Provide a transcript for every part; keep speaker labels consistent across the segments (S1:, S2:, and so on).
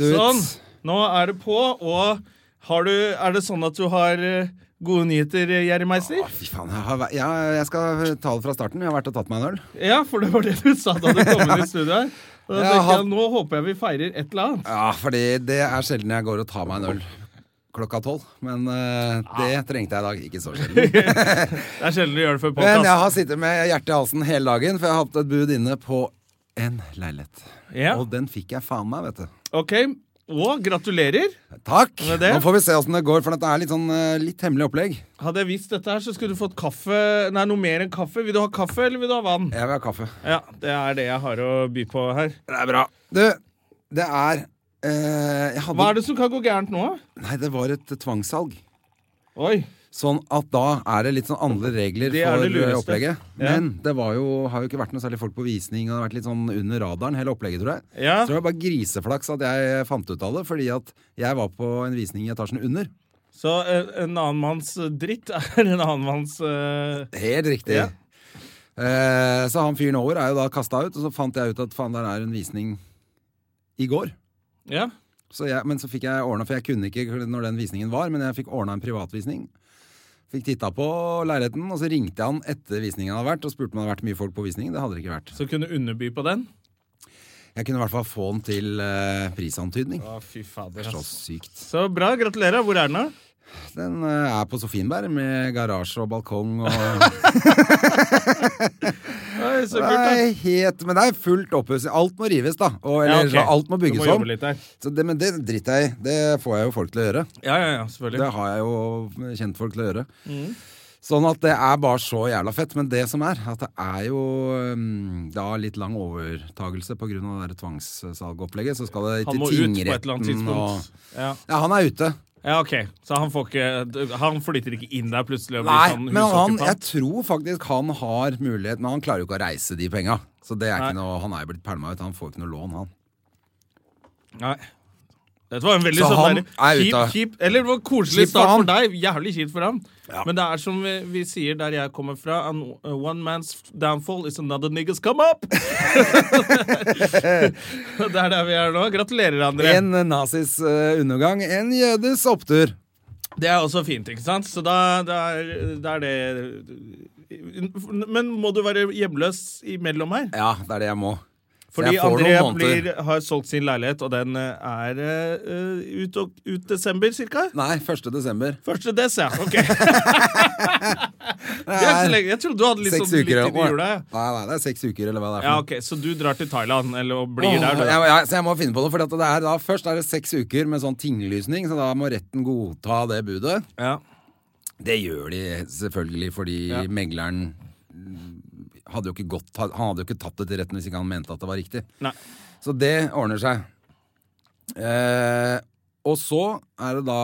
S1: Sånn. Nå er det på, og har du, er det sånn at du har eh, gode nyheter, eh, Jerry Meister?
S2: Fy faen, jeg, har, væ- ja, jeg skal ta det fra starten. Jeg har vært og tatt meg en øl.
S1: Ja, for det var det du sa da du kom inn i studio her. Og da
S2: Jeg
S1: tenkte
S2: har-
S1: jeg, Nå håper jeg vi feirer et eller annet.
S2: Ja, fordi det er sjelden jeg går og tar meg en øl klokka tolv. Men eh, det trengte jeg i dag. Ikke så sjelden.
S1: Det er sjelden du gjør det før
S2: Men jeg
S1: podkast.
S2: har sittet med hjertet i halsen hele dagen, for jeg har hatt et bud inne på en leilighet.
S1: Ja.
S2: Og den fikk jeg faen meg, vet du.
S1: Ok, og gratulerer.
S2: Takk!
S1: Med det-
S2: Nå får vi se åssen det går, for dette er litt sånn eh, litt hemmelig opplegg.
S1: Hadde jeg visst dette her, så skulle du fått kaffe. Nei, noe mer enn kaffe. Vil du ha kaffe, eller vil du ha vann?
S2: Jeg vil ha kaffe.
S1: Ja, det er det jeg har å by på her.
S2: Det er bra. Du, det er eh, jeg hadde,
S1: Hva er det som kan gå gærent nå?
S2: Nei, det var et tvangssalg.
S1: Oi.
S2: Sånn at da er det litt sånn andre regler
S1: Det er
S2: for
S1: det lureste.
S2: eh, opplegget.
S1: Ja.
S2: Men det var jo, har jo ikke vært noe særlig folk på visning, og det har vært litt sånn under radaren, hele opplegget, tror jeg.
S1: Ja.
S2: Så det var bare griseflaks at jeg fant ut av det, fordi at jeg var på en visning i etasjen under.
S1: Så eh, en annen manns eh, dritt er en annen manns eh,
S2: Helt riktig.
S1: Ja.
S2: Eh, så han fyren over er jo da kasta ut, og så fant jeg ut at faen, der er en visning i går.
S1: Ja.
S2: Så jeg, men så fikk jeg ordna, for jeg kunne ikke når den visningen var, men jeg fikk ordna en privatvisning. Fikk titta på leiligheten, og så ringte jeg han etter visningen hadde vært og spurte om det hadde vært mye folk på visningen. Det hadde det ikke vært.
S1: Så kunne underby på den?
S2: Jeg kunne i hvert fall få den til eh, prisantydning.
S1: Å, fy fader.
S2: Så
S1: ass.
S2: sykt.
S1: Så bra. Gratulerer. Hvor er den, da?
S2: Den eh, er på Sofienberg med garasje og balkong og
S1: Oi,
S2: Det
S1: så kult, da.
S2: er helt, Men det er fullt oppussing. Alt må rives, da. Og,
S1: Ja,
S2: eller,
S1: ok.
S2: så Alt må
S1: Du
S2: bygges
S1: må jobbe
S2: om.
S1: litt der.
S2: Så det, men det driter jeg i. Det får jeg jo folk til å gjøre.
S1: Ja, ja, ja, Mm. selvfølgelig.
S2: Det har jeg jo kjentfolk til å gjøre. Sånn at det er bare så jævla fett. Men det som er, at det er jo um, da litt lang overtagelse pga. det der tvangssalgopplegget. Så skal det
S1: Han
S2: til
S1: må ut på et eller annet
S2: tingretten og
S1: tidspunkt. Ja.
S2: Ja, han er ute.
S1: ja, ok. Så han, får ikke, han flytter ikke inn der plutselig og
S2: Nei,
S1: blir sånn
S2: men han, jeg
S1: hushockeypant?
S2: tror faktisk han har mulighet Men han klarer jo ikke å reise de penga. Så det er ikke
S1: Nei.
S2: noe, han er jo blitt pælma ut. Han får ikke noe lån, han.
S1: Nei. Dette var en veldig
S2: Så
S1: sånn
S2: han
S1: der,
S2: er ute
S1: kjip,
S2: av-
S1: kjip, Eller det var koselig
S2: Kjipt for
S1: start for
S2: han.
S1: deg. Jævlig kjipt for han. Men det er som vi, vi sier der jeg kommer fra an, One man's downfall is another niggas come up! det er der vi er nå. Gratulerer, André.
S2: En nazis eh, undergang, en jødes opptur.
S1: Det er også fint, ikke sant? Så da, da, er, da er det Men må du være hjemløs imellom her?
S2: Ja, det er det jeg må. Så
S1: Fordi
S2: jeg får
S1: André
S2: noen måneder.
S1: blir, har solgt sin leilighet, og den eh, er eh, ut, og, ut desember, cirka?
S2: Nei, 1. desember.
S1: 1. des, ja. Ok. Det er ikke så lenge. Jeg trodde du hadde litt
S2: Seks
S1: sånn litt
S2: uker
S1: i
S2: eller noe.
S1: jula. ja.
S2: Nei, nei, det er seks uker eller hva det er. for
S1: Ja,
S2: noe.
S1: ok, Så du drar til Thailand, eller og blir
S2: Åh,
S1: der, du?
S2: jeg, jeg, så jeg må finne på noe, for det er da, først er det seks uker med sånn tinglysning, så da må retten godta det budet.
S1: Ja.
S2: Det gjør de selvfølgelig fordi
S1: Ja.
S2: megleren mm, hadde jo ikke gått, han hadde jo ikke tatt det til retten hvis ikke han mente at det var riktig.
S1: Nei.
S2: Så det ordner seg. Eh, og så er det da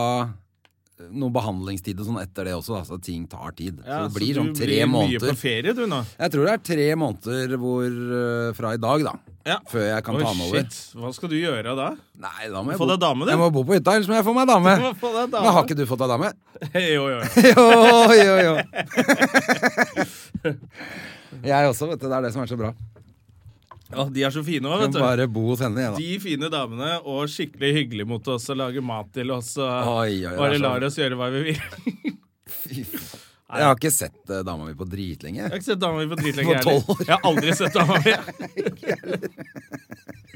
S2: noe behandlingstid og sånn etter det også, da, så ting tar tid.
S1: Ja,
S2: så det blir
S1: så
S2: sånn
S1: du
S2: tre
S1: blir mye
S2: måneder.
S1: på ferie, du, nå.
S2: Jeg tror det er tre måneder hvor, eh, fra i dag, da.
S1: Ja.
S2: Før jeg kan
S1: Oi,
S2: ta meg over.
S1: shit. Hva skal du gjøre da?
S2: Nei, da må jeg
S1: Få
S2: bo-
S1: deg dame, du.
S2: Jeg må bo på hytta, ellers må jeg få meg dame.
S1: Du må få deg dame.
S2: Men har ikke du fått deg dame?
S1: jo, jo, jo.
S2: jo, jo, jo. jeg også, vet du. Det er det som er så bra.
S1: Ja, de er så fine òg,
S2: Kan
S1: vet du.
S2: bare bo hos henne, jeg, da.
S1: De fine damene og skikkelig hyggelig mot oss og lager mat til oss og
S2: Oi, altså. oi, oi, det
S1: bare
S2: er så-
S1: lar oss gjøre hva vi vil. Jeg
S2: Fy faen. Jeg har ikke sett eh, dama mi på dritlenge.
S1: har ikke sett dama mi på
S2: På
S1: dritlenge, jeg
S2: tolv
S1: heller.
S2: år.
S1: Jeg har aldri sett dama mi.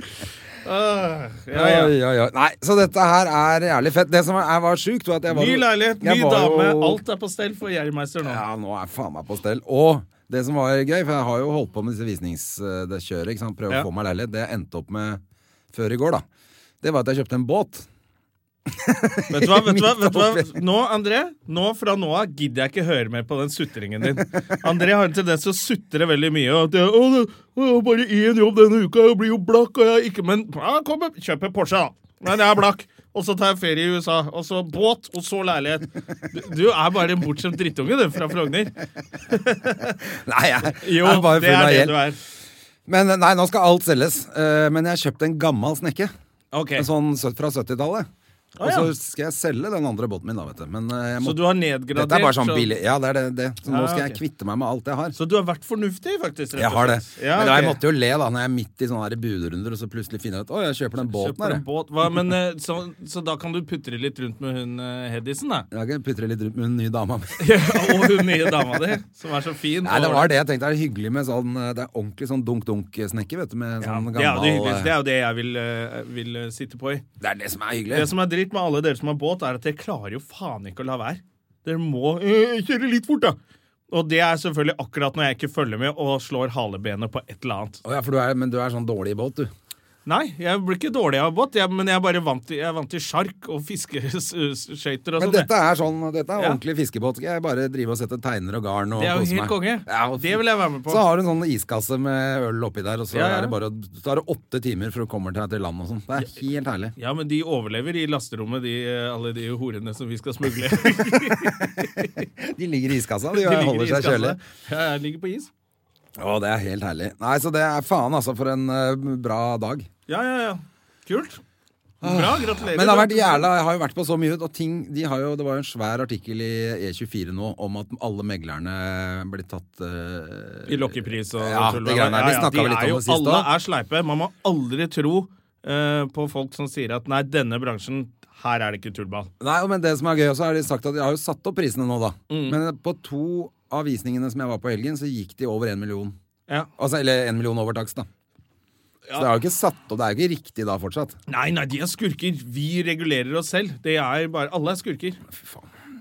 S1: Ah, ja, ja.
S2: Oi, oi, oi. Nei, så dette her er jævlig fett. Det som er, var sjukt, var at jeg var
S1: Ny leilighet,
S2: jeg
S1: ny
S2: var jo-
S1: dame. Alt er på stell for Jerrymeister nå.
S2: Ja, nå er faen meg på stell. Og det som var gøy, for jeg har jo holdt på med disse visningskjøret, ikke sant? prøve
S1: Ja.
S2: å få meg leilighet, det jeg endte opp med før i går, da. Det var at jeg kjøpte en båt.
S1: Vet du hva, vet du hva,
S2: Midt
S1: vet du hva?
S2: oppi.
S1: Nå, André, nå fra nå av gidder jeg ikke høre mer på den sutringen din. André har en tendens til å sutre veldig mye. Og at jeg, å, det, å, jeg har bare én jobb denne uka, jeg blir jo blakk, og jeg er ikke Men ja, kom, kjøp en Porsche, da. Nei, det er blakk. Og så tar jeg ferie i USA. Og så båt, og så leilighet. Du, du er bare en bortskjemt drittunge, du, fra Frogner.
S2: Nei, jeg, jeg
S1: Jo,
S2: er bare full
S1: det er
S2: av
S1: det du
S2: gjeld.
S1: er.
S2: Men eh, nei, nå skal alt selges. Eh, men jeg har kjøpt en gammel snekke.
S1: Ok,
S2: En sånn søt fra 70-tallet.
S1: Å,
S2: Og så
S1: ja.
S2: skal jeg selge den andre båten min, da, vet du. Men eh, jeg
S1: Så
S2: må,
S1: du har nedgradert?
S2: dette er bare sånn
S1: så-
S2: billig. Ja, det er det. det. Så nå
S1: Ja,
S2: skal
S1: ok.
S2: jeg kvitte meg med alt jeg har.
S1: Så du har vært fornuftig, faktisk? rett
S2: Jeg
S1: og
S2: har det.
S1: slett. Ja,
S2: Men da, jeg
S1: ok.
S2: måtte jo le da når jeg er midt i sånne her budrunder og så plutselig finner jeg ut Å, jeg kjøper den båten
S1: Kjøper
S2: her.
S1: en
S2: jeg».
S1: båt. Hva, men, eh, så, så da kan du putre litt rundt med hun eh, Hedisen, da?
S2: Jeg kan putre litt rundt med den nye dama mi.
S1: Ja, og hun nye dama di, som er så fin.
S2: Nei, det var det jeg tenkte. Det er hyggelig med sånn eh, Det er ordentlig sånn dunk-dunk-snekke, vet du. Med
S1: Ja,
S2: sånn
S1: det, er jo
S2: gammel
S1: det, hyggeligste. det
S2: eh,
S1: er jo det jeg vil, eh, vil eh, sitte på i.
S2: Det er det som er hyggelig.
S1: Det som er dritt med alle dere som har båt, er at dere klarer jo faen ikke å la være. Dere må eh, kjøre litt fort, da. Og det er selvfølgelig akkurat når jeg ikke følger med og slår halebenet på et eller annet.
S2: Å ja, for du er, men du er sånn dårlig i båt, du.
S1: Nei, jeg blir ikke dårlig av båt, jeg, men jeg er bare vant til, jeg er vant til sjark og fiskeskøyter og
S2: Men
S1: sånn.
S2: dette er sånn, dette er
S1: Ja.
S2: ordentlig fiskebåt. Skal jeg bare drive og sette teiner og garn og
S1: Det er jo
S2: kose
S1: helt
S2: meg?
S1: konge.
S2: Ja, og-
S1: Det vil jeg være med på.
S2: Så har du en sånn iskasse med øl oppi der, og så
S1: Ja, ja.
S2: er det bare å Så er det åtte timer før du kommer til, til land og sånn. Det er helt herlig.
S1: Ja, men de overlever i lasterommet, de, eh, alle de horene som vi skal smugle.
S2: De ligger i iskassa, de,
S1: De ligger i
S2: holder seg
S1: iskassa.
S2: kjølig.
S1: Ja, jeg ligger på is.
S2: Å, det er helt herlig. Nei, så det er faen altså for en eh, bra dag.
S1: Ja, ja, ja. Kult. Bra,
S2: Ah,
S1: gratulerer.
S2: Men det har vært jævla, jeg har jo vært på så mye, og ting de har jo, Det var jo en svær artikkel i E24 nå om at alle meglerne blir tatt eh,
S1: I lokkepris og
S2: Ja,
S1: tull.
S2: de greiene der. Vi snakket
S1: de
S2: vel litt
S1: er
S2: om
S1: jo-
S2: det sist
S1: Alle
S2: også.
S1: er sleipe. Man må aldri tro eh, på folk som sier at nei, denne bransjen, her er det ikke tullball.
S2: Nei, og men det som er gøy også, er de sagt at de har jo satt opp prisene nå, da.
S1: Mm.
S2: Men på to av visningene som jeg var på i helgen, så gikk de over én million.
S1: Ja.
S2: Altså, eller én million over takst, da. Så det er jo ikke satt opp, det er jo ikke riktig da fortsatt.
S1: Nei, nei, de er skurker. Vi regulerer oss selv. Det er bare, Alle er skurker. Fy
S2: faen.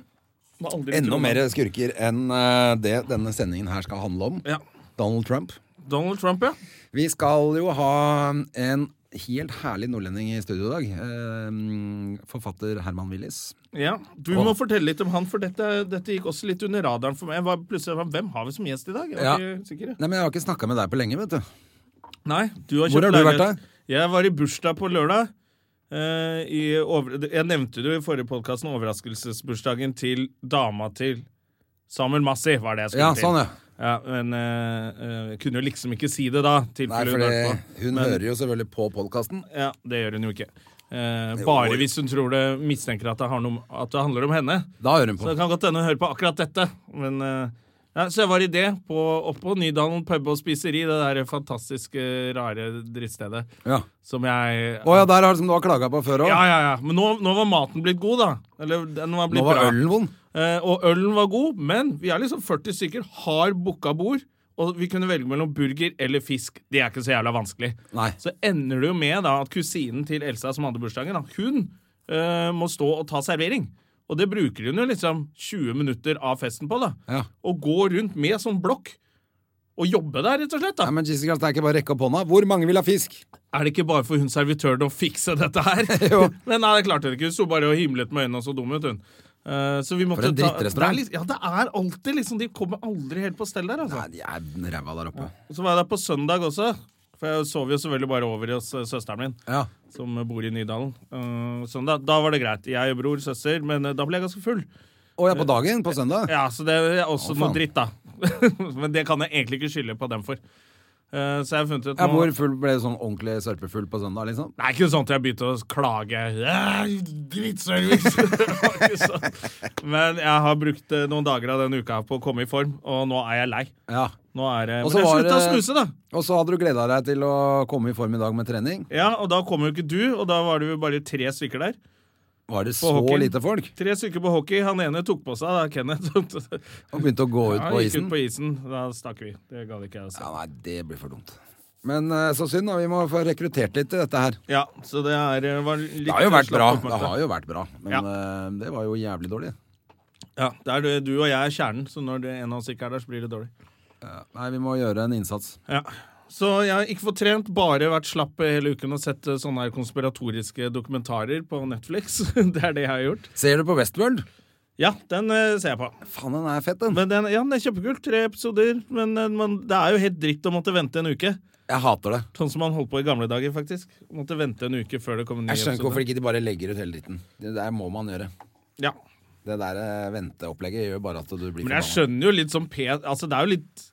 S2: Enda
S1: Enda
S2: mer skurker enn eh, det denne sendingen her skal handle om.
S1: Ja.
S2: Donald Trump.
S1: Donald Trump, ja.
S2: Vi skal jo ha en helt herlig nordlending i studio i dag. Eh, forfatter Herman Willis.
S1: ja. Du må fortelle litt om han, for dette, dette gikk også litt under radaren for meg. Jeg var plutselig, Hvem har vi som gjest i dag? Jeg
S2: Ja.
S1: var ikke sikker.
S2: Nei, men Jeg har ikke snakka med deg på lenge, vet du.
S1: Nei, du har
S2: Hvor
S1: kjøpt
S2: har du vært
S1: leilighet. Jeg var i bursdag på lørdag. eh, i over... Jeg nevnte det jo i forrige podkast, overraskelsesbursdagen til dama til Samuel Massi var det jeg skulle
S2: Ja, sånn, ja.
S1: til. Ja, men eh, eh, jeg kunne jo liksom ikke si det da.
S2: Nei,
S1: tilfelle hun
S2: fordi
S1: hørte på.
S2: hun
S1: Men-
S2: hører jo selvfølgelig på podkasten.
S1: Ja, Det gjør hun jo ikke. Eh, bare hvis hun tror det mistenker at det, har noe, at det handler om henne.
S2: Da hører hun
S1: Så
S2: på.
S1: det kan godt hende hun hører på akkurat dette. Men, eh, ja, så jeg var i det, på, oppe på Nydalen pub og spiseri, det der fantastiske, rare drittstedet.
S2: Ja.
S1: Som jeg
S2: Å ja, der har du som du har klaga på før òg.
S1: ja, ja, ja. Men nå, nå var maten blitt god, da. Eller den var blitt
S2: Nå var
S1: bra.
S2: ølen vond.
S1: Eh, og ølen var god, men vi er liksom 40 stykker, har booka bord. Og vi kunne velge mellom burger eller fisk. Det er ikke så jævla vanskelig.
S2: Nei.
S1: Så ender det jo med da at kusinen til Elsa som hadde bursdagen, da, hun eh, må stå og ta servering. Og det bruker hun jo liksom 20 minutter av festen på. da.
S2: Ja.
S1: Og gå rundt med sånn blokk og jobbe der, rett og slett. da.
S2: Nei, men Jesus Christ, det er ikke bare å rekke opp hånda. Hvor mange vil ha fisk?
S1: Er det ikke bare for hun servitøren å fikse dette her?
S2: Jo.
S1: Men nei, det klarte hun ikke. Hun sto bare og himlet med øynene og så dum ut, hun. Eh, så vi måtte
S2: en
S1: ta-
S2: drittrestaurant.
S1: Det er litt- Ja, det er alltid liksom De kommer aldri helt på stell der, altså.
S2: Nei, de er ræva der oppe.
S1: Og Så var jeg der på søndag også. For jeg sov jo selvfølgelig bare over hos eh, søsteren min,
S2: Ja.
S1: som bor i Nydalen. Eh, søndag, Da var det greit. Jeg og bror, søster. Men eh, da ble jeg ganske full.
S2: Å ja, på dagen? På søndag?
S1: Ja, så det er
S2: Å,
S1: også noe
S2: faen.
S1: dritt, da. men det kan jeg egentlig ikke skylde på dem for. Eh, så jeg har funnet ut
S2: Ja,
S1: nå-
S2: hvor full ble du sånn ordentlig sørpefull på søndag, liksom?
S1: Det er ikke sånn at jeg begynte å klage. «Æ, Drittservice! Det var ikke sånn. Men jeg har brukt eh, noen dager av denne uka på å komme i form, og nå er jeg lei.
S2: Ja.
S1: Nå er det...
S2: Og
S1: Men
S2: så
S1: jeg
S2: var
S1: slutta å
S2: det-
S1: snuse, da.
S2: Og så hadde du gleda deg til å komme i form i dag med trening.
S1: Ja, Og da kom jo ikke du, og da var det jo bare tre stykker der.
S2: Var det så
S1: hockeyen.
S2: lite folk?
S1: Tre stykker på hockey. Han ene tok på seg, da, Kenneth.
S2: Og begynte å gå ut
S1: Han
S2: på
S1: gikk
S2: isen?
S1: ut på isen. Da stakk vi. Det gadd ikke jeg å se.
S2: Ja, nei, det blir for dumt. Men eh, så synd, da. Vi må få rekruttert litt til dette her.
S1: Ja, så det er eh, var litt
S2: Det har jo vært bra.
S1: slapp
S2: Det
S1: oppmøte.
S2: har jo vært bra. Men eh, det var jo jævlig dårlig.
S1: Ja, det er det, du og jeg er kjernen, så når det en av oss ikke er der, så blir det dårlig.
S2: Nei, vi må gjøre en innsats.
S1: Ja. Så jeg har ikke fått trent, bare vært slapp hele uken og sett eh, sånne her konspiratoriske dokumentarer på Netflix. Det er det jeg har gjort.
S2: Ser du på Westworld?
S1: Ja, den eh, ser jeg på.
S2: Faen, den er fett, den.
S1: Men den, ja, den er kjempekult. Tre episoder. Men eh, man, det er jo helt dritt å måtte vente en uke.
S2: Jeg hater det.
S1: Sånn som man holdt på i gamle dager, faktisk. Måtte vente en uke før det kom en ny
S2: Jeg skjønner ikke
S1: episode.
S2: hvorfor ikke de bare legger ut hele dritten. Det der må man gjøre.
S1: Ja.
S2: Det der eh, venteopplegget gjør bare at du blir
S1: Men jeg
S2: forbanna.
S1: skjønner jo litt sånn P... Altså, det er jo litt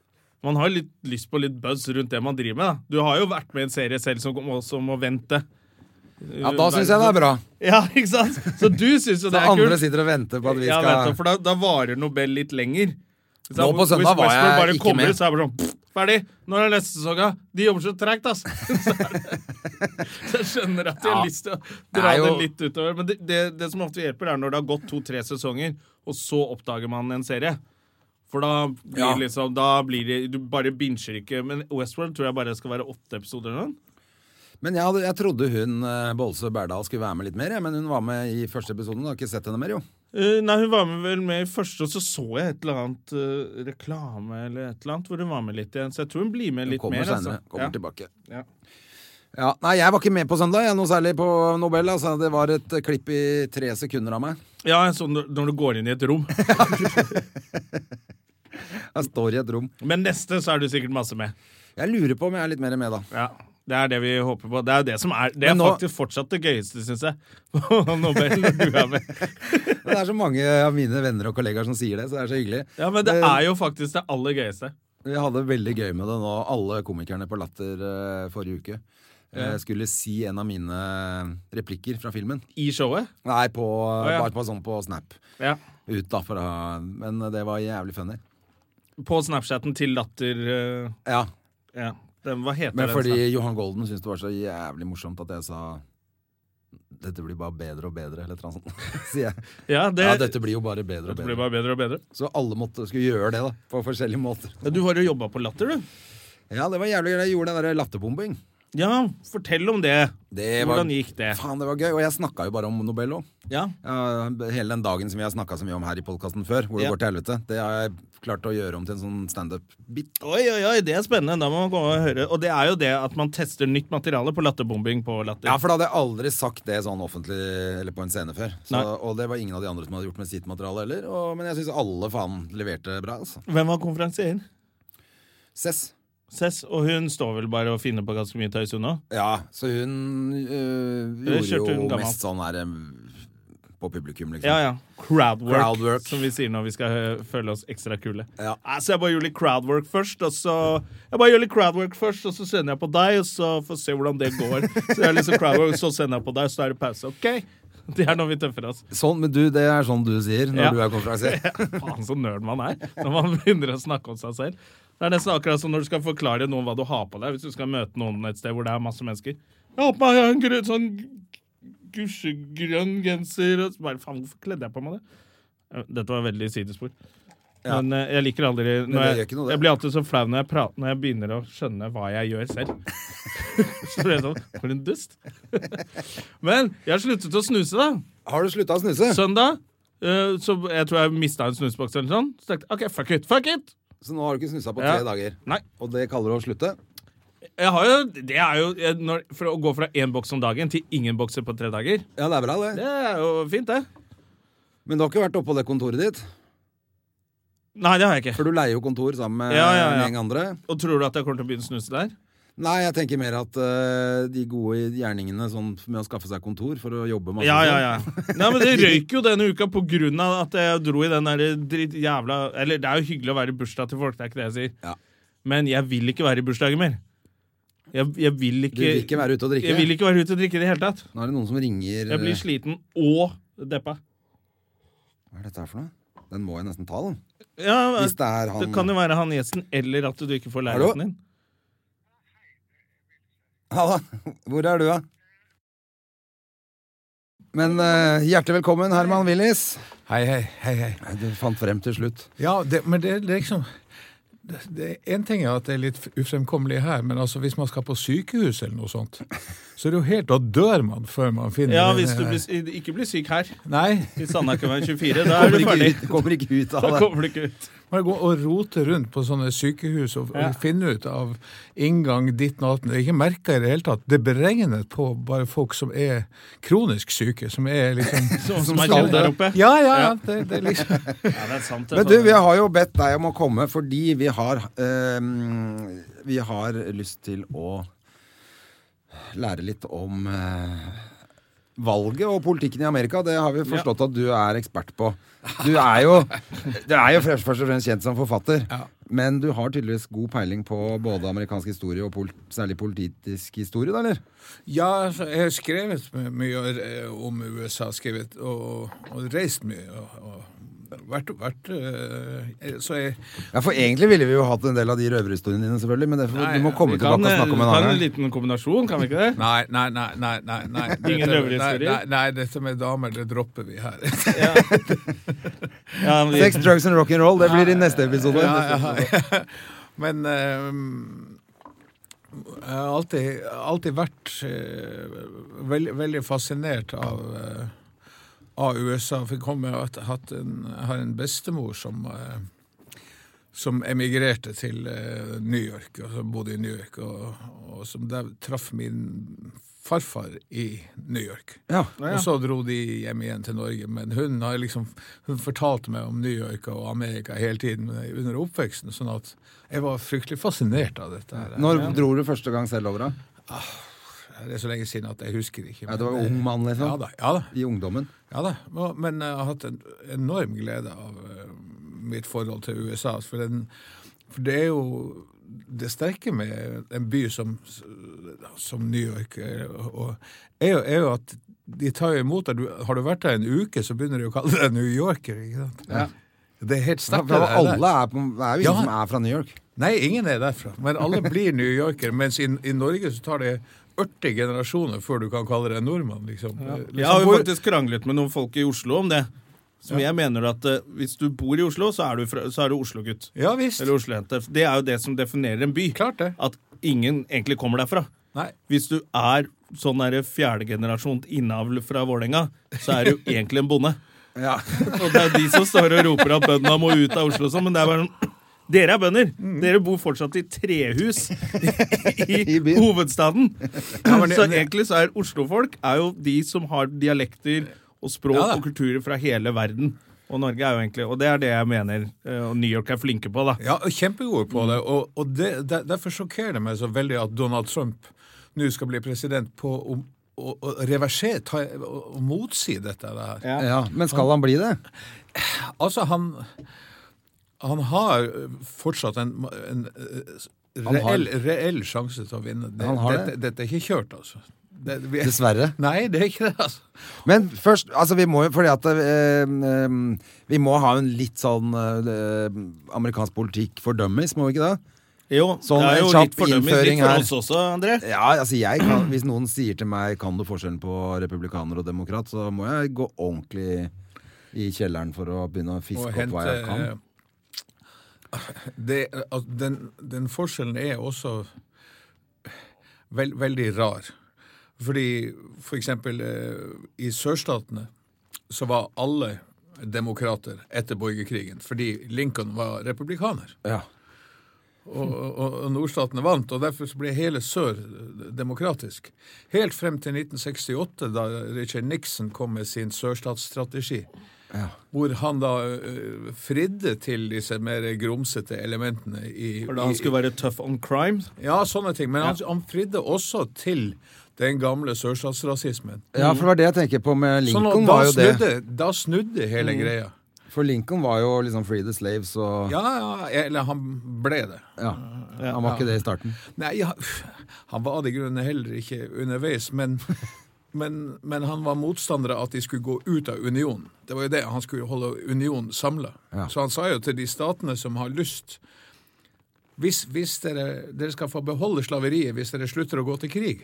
S1: Man har jo litt lyst på litt buzz rundt det man driver med, da. Du har jo vært med i en serie selv som også må vente.
S2: Ja, da syns jeg det er bra.
S1: Ja, ikke sant? Så du syns jo det
S2: Så
S1: er
S2: andre
S1: kult.
S2: sitter og venter på at vi
S1: Ja, vet du,
S2: skal
S1: for da, da varer Nobel litt lenger. Hvis
S2: Nå
S1: jeg-
S2: på søndag
S1: hvis
S2: var
S1: Westworld
S2: jeg
S1: bare
S2: ikke
S1: kommer
S2: med.
S1: ut, Så er jeg bare sånn pff, Ferdig! Nå er det neste sesong, ja. De jobber så tregt, ass! Så er det- Så jeg skjønner at de har
S2: Ja.
S1: lyst til å
S2: Det
S1: dra
S2: er
S1: det,
S2: jo-
S1: litt utover. Men det, det, det som ofte hjelper, er når det har gått to-tre sesonger, og så oppdager man en serie. For da blir
S2: Ja.
S1: liksom Da blir det Du bare binger ikke. Men Westworld tror jeg bare skal være åtte episoder eller noe.
S2: Men jeg, hadde, jeg trodde hun eh, Bolse Berdal skulle være med litt mer, jeg, men hun var med i første episoden. Har ikke sett henne mer, jo.
S1: Eh, nei, hun var med vel med i første, og så så jeg et eller annet eh, reklame eller et eller annet, hvor hun var med litt igjen. Så jeg tror hun blir med
S2: Hun
S1: litt
S2: kommer
S1: mer. altså.
S2: senere. Kommer
S1: ja.
S2: tilbake.
S1: Ja.
S2: Ja, nei, jeg var ikke med på søndag, jeg, noe særlig på Nobel. Altså, det var et eh, klipp i tre sekunder av meg.
S1: ja, sånn når- når du går inn i et rom.
S2: Jeg står i et rom.
S1: Men neste så er du sikkert masse med.
S2: Jeg lurer på om jeg er litt mer med, da.
S1: Ja, Det er det vi håper på. Det er jo det som er Det er
S2: Men nå-
S1: faktisk fortsatt det gøyeste, syns jeg. Nobel, når du er med.
S2: Det er så mange av mine venner og kollegaer som sier det, så det er så hyggelig.
S1: Ja, Men det
S2: Eh.
S1: er jo faktisk det aller gøyeste.
S2: Vi hadde veldig gøy med det nå, alle komikerne på Latter eh, forrige uke. eh, skulle si en av mine eh, replikker fra filmen.
S1: I showet.
S2: Nei, på,
S1: ja.
S2: bare på, sånn på Snap.
S1: Ja.
S2: Ut da, fra, men det var jævlig funny.
S1: På Snapchaten til Latter eh,
S2: Ja,
S1: Ja. Den, hva heter
S2: men
S1: den?
S2: fordi Johan Golden syntes det var så jævlig morsomt at jeg sa dette blir bare bedre og bedre, eller noe sånt. Sier jeg.
S1: Snap- Ja, det,
S2: Ja,
S1: dette,
S2: dette blir jo bare bedre og
S1: blir
S2: bedre.
S1: bare bedre og bedre.
S2: Så alle måtte, skulle gjøre det, da. På forskjellige måter.
S1: Ja, Du har jo jobba på Latter, du.
S2: Ja, det var jævlig gøy. Jeg gjorde den derre latterbombing.
S1: Ja, fortell om det.
S2: Det var-
S1: Hvordan gikk det?
S2: Faen, det var gøy. Og jeg snakka jo bare om Nobel òg.
S1: Ja.
S2: Ja, hele den dagen som vi har snakka så mye om her i podkasten før, hvor det
S1: Ja.
S2: går til helvete, det har jeg klart å gjøre om til en sånn standup-bit.
S1: Oi, oi, oi, det er spennende. Da må man gå og høre. Og det er jo det at man tester nytt materiale på latterbombing på latter.
S2: Ja, for da hadde jeg aldri sagt det sånn offentlig eller på en scene før. Så,
S1: Nei.
S2: og det var ingen av de andre som hadde gjort med sitt materiale heller. Og, men jeg syns alle faen leverte bra, altså.
S1: Hvem var konferansieren?
S2: Cess.
S1: Cess, og hun står vel bare og finner på ganske mye tøys hun nå?
S2: Ja, så hun øh,
S1: Det
S2: gjorde
S1: kjørte
S2: jo
S1: hun gammelt.
S2: mest sånn her øh, på publikum, liksom.
S1: Ja, ja. Crowdwork,
S2: Crowdwork.
S1: som vi sier når vi skal øh, føle oss ekstra kule.
S2: Ja.
S1: Nei, Så jeg bare gjør litt crowdwork først, og så Jeg bare gjør litt crowdwork først, og så sender jeg på deg, og så får vi se hvordan det går. Så jeg liksom crowdwork, så sender jeg på deg, og så er det pause. OK? Det er når vi tøffer oss.
S2: Sånn, men du, det er sånn du sier når
S1: Ja.
S2: du er konferansier.
S1: Faen, så nerd man er når man begynner å snakke om seg selv. Det er nesten akkurat som når du skal forklare noen hva du har på deg, hvis du skal møte noen et sted hvor det er masse mennesker. Jeg har på meg en grønn, sånn gusjegrønn genser og så bare Faen, hvorfor kledde jeg på meg det? Dette var veldig sidespor.
S2: Ja.
S1: Men eh, jeg liker aldri
S2: det
S1: når
S2: gjør
S1: jeg,
S2: ikke noe, det.
S1: jeg blir alltid så flau når jeg prater Når jeg begynner å skjønne hva jeg gjør selv. så blir jeg sånn For en dust. Men jeg har sluttet å snuse, da.
S2: Har du slutta å snuse? Så,
S1: Søndag eh, så jeg tror jeg mista en snusboks eller sånn. Så tenkte jeg OK, fuck it! fuck it
S2: nå har du ikke snusa på
S1: Ja.
S2: tre dager.
S1: Nei.
S2: Og det kaller du å slutte?
S1: Jeg har jo, det er jo jeg, når, For å gå fra én boks om dagen til ingen bokser på tre dager,
S2: Ja, det er bra, det.
S1: det er jo fint, det.
S2: Men du har ikke vært oppå det kontoret ditt?
S1: Nei, det har jeg ikke.
S2: For du leier jo kontor sammen med
S1: Ja, ja, ja.
S2: en gjeng andre.
S1: Og tror du at jeg kommer til å begynne å snuse der?
S2: Nei, jeg tenker mer at eh, de gode gjerningene sånn, med å skaffe seg kontor for å jobbe masse
S1: Ja, ja,
S2: sånn.
S1: ja. Nei, men Det røyk jo denne uka på grunn av at jeg dro i den der dritt jævla Eller det er jo hyggelig å være i bursdag til folk, det er ikke det jeg sier.
S2: Ja.
S1: Men jeg vil ikke være i bursdager mer. Jeg, jeg vil ikke
S2: Du vil ikke være ute og drikke?
S1: Jeg vil ikke være ute og drikke i det hele tatt.
S2: Nå er det noen som ringer eh,
S1: Jeg blir sliten og deppa.
S2: Hva er dette her for noe? Den må jeg nesten ta, den.
S1: Ja,
S2: Hvis det er han
S1: Det kan jo være han gjesten, eller at du ikke får
S2: Hallo?
S1: leiligheten din.
S2: Halla, hvor er du, da? Men eh, hjertelig velkommen, Herman Willis.
S3: Hei, hei, hei, hei.
S2: Nei, Du fant frem til slutt.
S3: Ja, det, men det, det er liksom det, det, En ting er at det er litt ufremkommelig her, men altså hvis man skal på sykehus eller noe sånt, så er det jo helt Da dør man før man finner
S1: Ja,
S3: den-
S1: hvis du blir, ikke blir syk her,
S3: Nei.
S1: i Sandakerveien 24, da er du
S2: Kommer
S1: ferdig.
S2: ikke ut, kommer ikke ut
S1: Da
S2: av det.
S1: kommer du ikke ut.
S3: Bare gå og rote rundt på sånne sykehus og,
S1: Ja.
S3: og finne ut av inngang ditt og datten. Det er ikke merka i det hele tatt. Det er beregnet på bare folk som er kronisk syke, som er liksom
S1: Som, som er kjent der oppe.
S3: Ja, ja, ja. Det, det er liksom
S1: Ja, det er sant. det,
S2: Men du,
S1: faen.
S2: vi har jo bedt deg om å komme fordi vi har ehm, Vi har lyst til å lære litt om eh, valget og politikken i Amerika. Det har vi forstått at du er ekspert på. Du er jo, du er jo først, først og fremst kjent som forfatter, men du har tydeligvis god peiling på både amerikansk historie og pol særlig politisk historie, da, eller?
S3: Ja, altså, jeg har skrevet my- mye eh, om USA, skrevet og, og reist mye. Og, og vært, vært eh, Så jeg
S2: Ja, for egentlig ville vi jo hatt en del av de røverhistoriene dine, selvfølgelig, men det får,
S3: Nei,
S2: du må komme
S1: Vi kan,
S2: tilbake og
S1: eh,
S2: snakke om en
S1: kan en
S2: annen gang.
S1: liten kombinasjon, kan vi ikke det?
S3: Nei, nei, nei. nei, nei, nei.
S1: Ingen
S3: Dette-
S1: røverhistorier?
S3: Nei, nei, nei, dette med damer, det dropper vi her.
S1: Ja, vi,
S2: Sex, drugs and rock'n'roll, det blir i neste episode.
S3: Men eh, jeg har alltid, alltid vært eh, veldig, veldig fascinert av, eh, av USA. For jeg kommer av at hatt en, jeg har en bestemor som eh, som emigrerte til eh, New York, og som bodde i New York, og, og som der traff min farfar i New York.
S2: Ja.
S3: Og så dro de hjem igjen til Norge, men hun har liksom hun fortalte meg om New York og Amerika hele tiden under oppveksten, sånn at jeg var fryktelig fascinert av dette. her.
S2: Når dro du første gang selv over, da?
S3: Det er så lenge siden at jeg husker ikke.
S2: Ja, du
S3: men-
S2: var ung mann,
S3: Ja
S2: liksom?
S3: da, ja da.
S2: I ungdommen?
S3: Ja da, og- men jeg har hatt en enorm glede av eh, mitt forhold til USA. For, den, for det er jo det sterke med en by som, som New York eh, og, er, jo, er jo at de tar jo imot deg. Du- Har du vært der en uke, så begynner de å kalle deg New Yorker. ikke sant? Det er helt
S2: Ja,
S3: sterkt.
S2: for
S3: det der.
S2: alle er, på, det er jo ingen
S3: Ja.
S2: som er fra New York.
S3: Nei, ingen er derfra. Men alle blir New Yorkere. Mens i, i Norge så tar det 80 generasjoner før du kan kalle deg nordmann, liksom. Eh, liksom
S1: jeg har jo
S3: hvor-
S1: faktisk kranglet med noen folk i Oslo om det. Som jeg mener at eh, hvis du bor i Oslo, så er du, fra- så er du Oslo-gutt.
S3: Ja visst.
S1: Eller Oslo-jente. Det er jo det som definerer en by.
S3: Klart det.
S1: At ingen egentlig kommer derfra.
S3: Nei.
S1: Hvis du er sånn der fjerdegenerasjon innavl fra Vålerenga, så er du egentlig en bonde. Og det er de som står og roper at bøndene må ut av Oslo og sånn, men det er bare sånn Dere er bønder! Dere bor fortsatt i trehus i,
S2: Mm. I byen.
S1: hovedstaden.
S3: men det-
S1: så egentlig så er oslofolk er jo de som har dialekter og språk
S3: Ja da.
S1: og kulturer fra hele verden. Og Norge er jo egentlig Og det er det jeg mener eh, og New York er flinke på, da.
S3: Ja, og kjempegode på det.
S2: Mm.
S3: Og, og det, der, derfor sjokkerer det meg så veldig at Donald Trump nå skal bli president på å, å, å reversere, ta, å, å motsi dette her.
S1: Ja.
S2: Ja, Men skal han bli det?
S3: Altså, han Han har fortsatt en, en eh,
S2: Han har-
S3: reell, reell sjanse til å vinne. Det,
S2: Han har
S3: dette, dette er ikke kjørt, altså. Det, vi,
S2: Dessverre.
S3: Nei, det er ikke det, altså.
S2: Men først, altså vi må jo fordi at eh, eh, Vi må ha en litt sånn eh, amerikansk politikk for dummies, må vi ikke det?
S1: Jo,
S2: Sånn
S1: det er jo
S2: en
S1: litt
S2: kjapp
S1: fordømmelig
S2: innføring
S1: litt for
S2: her.
S1: oss også, André.
S2: Ja, altså jeg kan, Hvis noen sier til meg kan du forskjellen på republikaner og demokrat, så må jeg gå ordentlig i kjelleren for å begynne å fiske
S3: Og
S2: opp hva jeg kan.
S3: eh, Det, altså, den, den forskjellen er også vel- veldig rar. Fordi for eksempel eh, i sørstatene så var alle demokrater etter borgerkrigen, fordi Lincoln var republikaner.
S2: Ja.
S3: Og, og, og nordstatene vant, og derfor så ble hele sør demokratisk. Helt frem til 1968, da Richard Nixon kom med sin sørstatsstrategi hvor han da øh, fridde til disse mer grumsete elementene i,
S1: For da han
S3: i-
S1: skulle være tough on crime.
S3: Ja, sånne ting. Men han, han fridde også til den gamle sørstatsrasismen.
S2: ja, for det var det jeg tenker på med
S3: Sånn at
S2: Lincoln.
S3: da,
S2: var jo det. Mm.
S3: snudde, da snudde hele greia.
S2: For Lincoln var jo liksom 'free the slaves' og
S3: Ja, ja, eller han ble det.
S2: Ja. Han var ikke det i starten.
S3: Nei, ja, han var av de grunnene heller ikke underveis, men, men, men han var motstander av at de skulle gå ut av unionen. Det var jo det, han skulle holde unionen samla.
S2: Ja.
S3: Så han sa jo til de statene som har lyst hvis, hvis dere, dere skal få beholde slaveriet hvis dere slutter å gå til krig.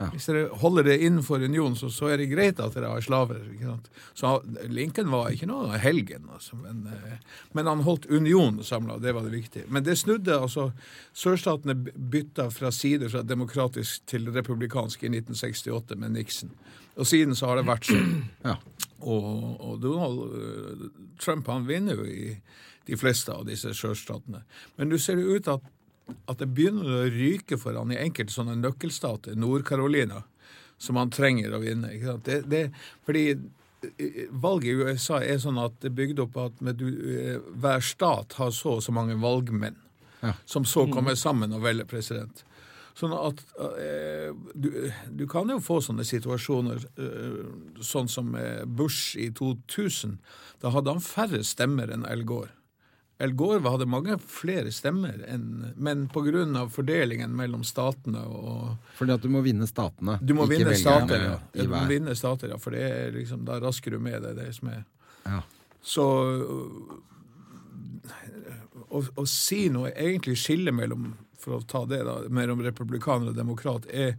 S3: Hvis dere holder det innenfor unionen, så, så er det greit at dere har slaver. Ikke sant? Så han- Lincoln var ikke noe helgen, altså, men, eh, men han holdt unionen samla, det var det viktige. Men det snudde, altså. Sørstatene by- bytta fra side fra demokratisk til republikansk i 1968 med Nixon. Og siden så har det vært sånn.
S2: Ja.
S3: Og, og Donald eh, Trump han vinner jo i de fleste av disse sørstatene. Men du ser jo ut at, at det begynner å ryke for han i enkelte sånne nøkkelstater, Nord-Carolina, som han trenger å vinne. Ikke sant? Det, det, fordi eh, valget i USA er sånn at det er bygd opp at med du, eh, hver stat har så og så mange valgmenn som så kommer sammen og velger president. Sånn at eh, du, du kan jo få sånne situasjoner eh, sånn som eh, Bush i 2000. Da hadde han færre stemmer enn Al Gore. Al Gore hadde mange flere stemmer, enn, men pga. fordelingen mellom statene og
S2: Fordi at du må vinne statene.
S3: Du må
S2: ikke
S3: vinne
S2: velgerne
S3: stater, ja.
S2: i
S3: Du må
S2: hver.
S3: vinne stater, ja, for det er liksom, da rasker du med deg det som er
S2: Ja.
S3: så å, å si noe egentlig skille mellom for å ta det da, mellom republikaner og demokrat er,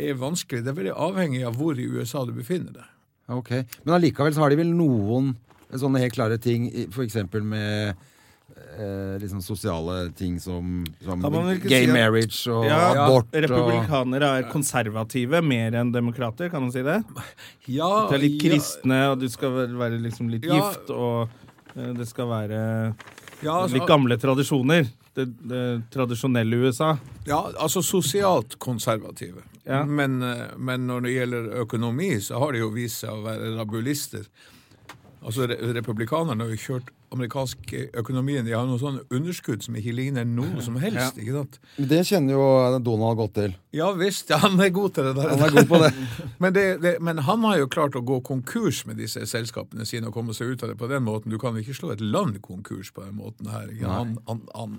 S3: er vanskelig. Det er veldig avhengig av hvor i USA du befinner deg.
S2: Ok, Men allikevel så har de vel noen sånne helt klare ting, f.eks. med eh, liksom sosiale ting som, som
S1: Kan man vel ikke
S2: gay
S1: si at-
S2: marriage og
S1: Ja,
S2: abort og
S1: Republikanere er konservative mer enn demokrater, kan man si det?
S3: Ja,
S1: De er litt
S3: ja,
S1: kristne, og du skal vel være liksom litt
S3: Ja.
S1: gift, og eh, det skal være
S3: ja, altså,
S1: litt gamle tradisjoner. Det, det tradisjonelle USA.
S3: ja, altså sosialt konservative.
S1: Ja.
S3: Men, eh, men når det gjelder økonomi, så har det jo vist seg å være rabulister. Altså, re Republikanerne har jo kjørt amerikansk eh, økonomien. De har noen sånne underskudd som ikke ligner noe som helst. ikke sant?
S2: Men Det kjenner jo Donald godt til.
S3: Ja visst, ja, han er god til det der.
S2: Han er god på det.
S3: men, det, det, men han har jo klart å gå konkurs med disse selskapene sine og komme seg ut av det på den måten. Du kan ikke slå et land konkurs på den måten her. ikke? Han, han, han.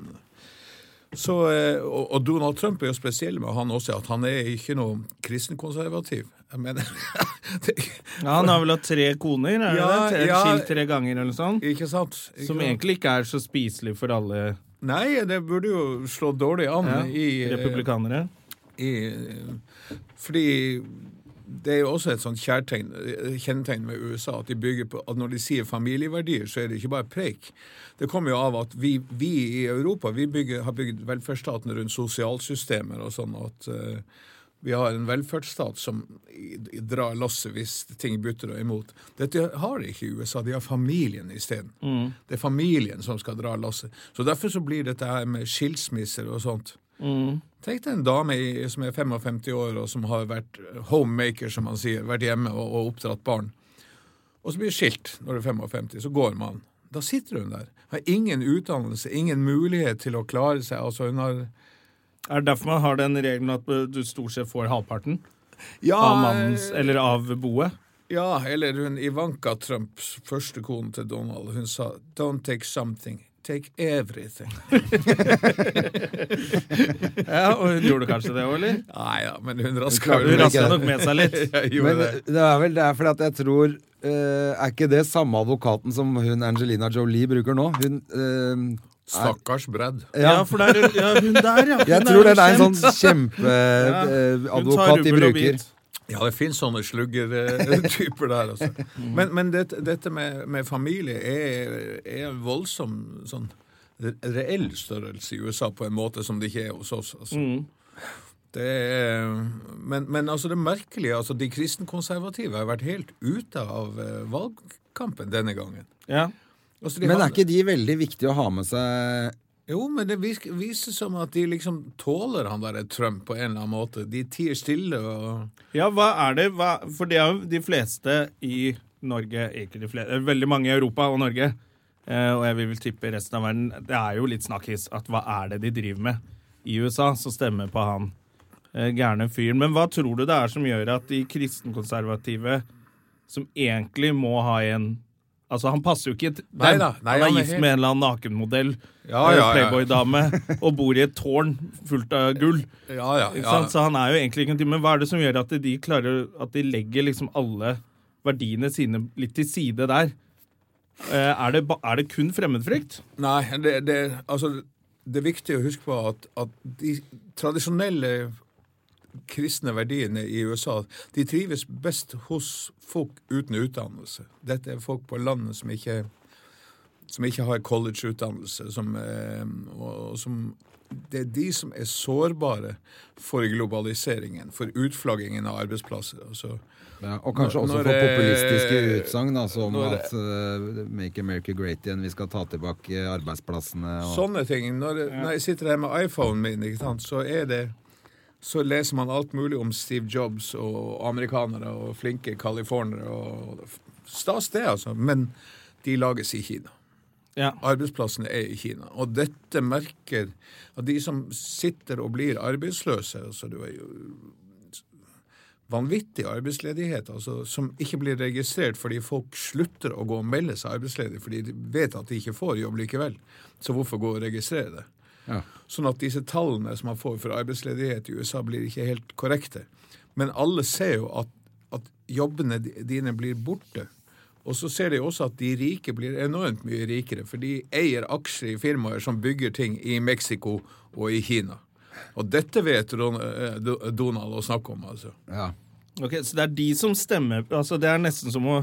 S3: Så, eh, og, og Donald Trump er jo spesiell med han også, at han er ikke noe kristenkonservativ. Jeg mener, det,
S1: Ja, han har vel hatt tre koner, er det
S3: Ja,
S1: det? Tre,
S3: ja.
S1: Skilt tre ganger eller noe sånt.
S3: ikke sant? Ikke
S1: Som
S3: sant?
S1: egentlig ikke er så spiselig for alle
S3: Nei, det burde jo slå dårlig an
S1: ja,
S3: i eh,
S1: republikanere.
S3: i, fordi det er jo også et sånt kjærtegn, kjennetegn med USA at de bygger på at når de sier familieverdier, så er det ikke bare preik. Det kommer jo av at vi, vi i Europa vi bygger, har bygd velferdsstaten rundt sosialsystemer og sånn at eh, vi har en velferdsstat som i- i- drar lasset hvis ting butter og imot. Dette har de ikke i USA. De har familien isteden. Det er familien som skal dra lasset. Så derfor så blir dette her med skilsmisser og sånt Tenk deg en dame i, som er 55 år og som har vært homemaker, som man sier, vært hjemme og, og oppdratt barn. Og så blir det skilt når du er 55, så går man. Da sitter hun der. Har ingen utdannelse, ingen mulighet til å klare seg. Altså hun har
S1: Er det derfor man har den regelen at du stort sett får halvparten
S3: ja,
S1: av mannens, eller av boet?
S3: ja, eller hun Ivanka Trumps første kone til Donald, hun sa 'don't take something'. Take everything.
S1: Ja, og hun gjorde kanskje det òg, eller?
S3: Nei ja, men hun raska
S2: klarte
S1: Hun
S3: vel
S2: det
S1: raska
S2: ikke.
S1: nok med seg litt.
S3: Jeg gjorde
S2: Men
S3: det.
S2: det er vel det er fordi at jeg tror eh, Er ikke det samme advokaten som hun Angelina Jolie bruker nå? Hun eh,
S3: Stakkars Brad.
S1: Ja, for der, er- ja, hun der, ja.
S2: Jeg
S1: hun
S2: tror det
S1: jo
S2: er en
S1: kjent.
S2: sånn kjempeadvokat
S1: Ja, hun tar
S2: advokat de
S1: rubbel og
S2: bruker.
S1: bit.
S3: Ja, det finnes sånne sluggertyper der, altså. Men, men det, dette med, med familie er, er en voldsom sånn re- reell størrelse i USA på en måte som det ikke er hos oss. altså. Det er, men, men altså det merkelige altså De kristenkonservative har vært helt ute av eh, valgkampen denne gangen.
S1: Ja.
S3: Altså, de
S2: Men
S3: har-
S2: er ikke de veldig viktige å ha med seg
S3: Jo, men det vis- viser som at de liksom tåler han derre Trump på en eller annen måte. De tier stille og
S1: ja, hva er det hva, For det er jo de fleste i Norge Ikke de fleste, veldig mange i Europa og Norge, eh, og jeg vil vel tippe resten av verden Det er jo litt snakkis at hva er det de driver med i USA, som stemmer på han eh, gærne fyren. Men hva tror du det er som gjør at de kristenkonservative, som egentlig må ha en Altså, han passer jo ikke til dem.
S3: Nei da, nei,
S1: han er
S3: han er
S1: gift
S3: helt-
S1: med en eller annen nakenmodell,
S3: Ja,
S1: eh,
S3: ja, ja.
S1: Playboy-dame, og bor i et tårn fullt av gull.
S3: Ja, ja.
S1: Ikke
S3: ja.
S1: sant? Så han er jo egentlig ikke en type. Men hva er det som gjør at de klarer At de legger liksom alle verdiene sine litt til side der? Eh, Er det, ba- er det kun fremmedfrykt?
S3: Nei, det, det, altså, det er viktig å huske på at, at de tradisjonelle kristne verdiene i USA de trives best hos folk uten utdannelse. Dette er folk på landet som ikke, som ikke har collegeutdannelse, som, eh, og, og som det er de som er sårbare for globaliseringen, for utflaggingen av arbeidsplasser. Altså,
S2: Ja, og kanskje også
S3: Når-
S2: for
S3: når, eh,
S2: populistiske utsagn da, som
S3: når-
S2: at eh, Make America Great igjen, vi skal ta tilbake arbeidsplassene og
S3: Sånne ting. Når, når jeg sitter her med iPhonen min, ikke sant, så er det så leser man alt mulig om Steve Jobs og amerikanere og flinke californere. og- Stas det, altså. Men de lages i Kina.
S1: Ja.
S3: Arbeidsplassene er i Kina. Og dette merker at de som sitter og blir arbeidsløse altså Det er jo vanvittig arbeidsledighet altså, som ikke blir registrert fordi folk slutter å gå og melde seg arbeidsledig fordi de vet at de ikke får jobb likevel. Så hvorfor gå og registrere det?
S2: Ja.
S3: Sånn at disse tallene som man får for arbeidsledighet i USA, blir ikke helt korrekte. Men alle ser jo at, at jobbene di- dine blir borte. Og så ser de også at de rike blir enormt mye rikere, for de eier aksjer i firmaer som bygger ting i Mexico og i Kina. Og dette vet Ron- eh, Do- Donald å snakke om, altså.
S2: ja.
S1: Ok, Så det er de som stemmer altså Det er nesten som å,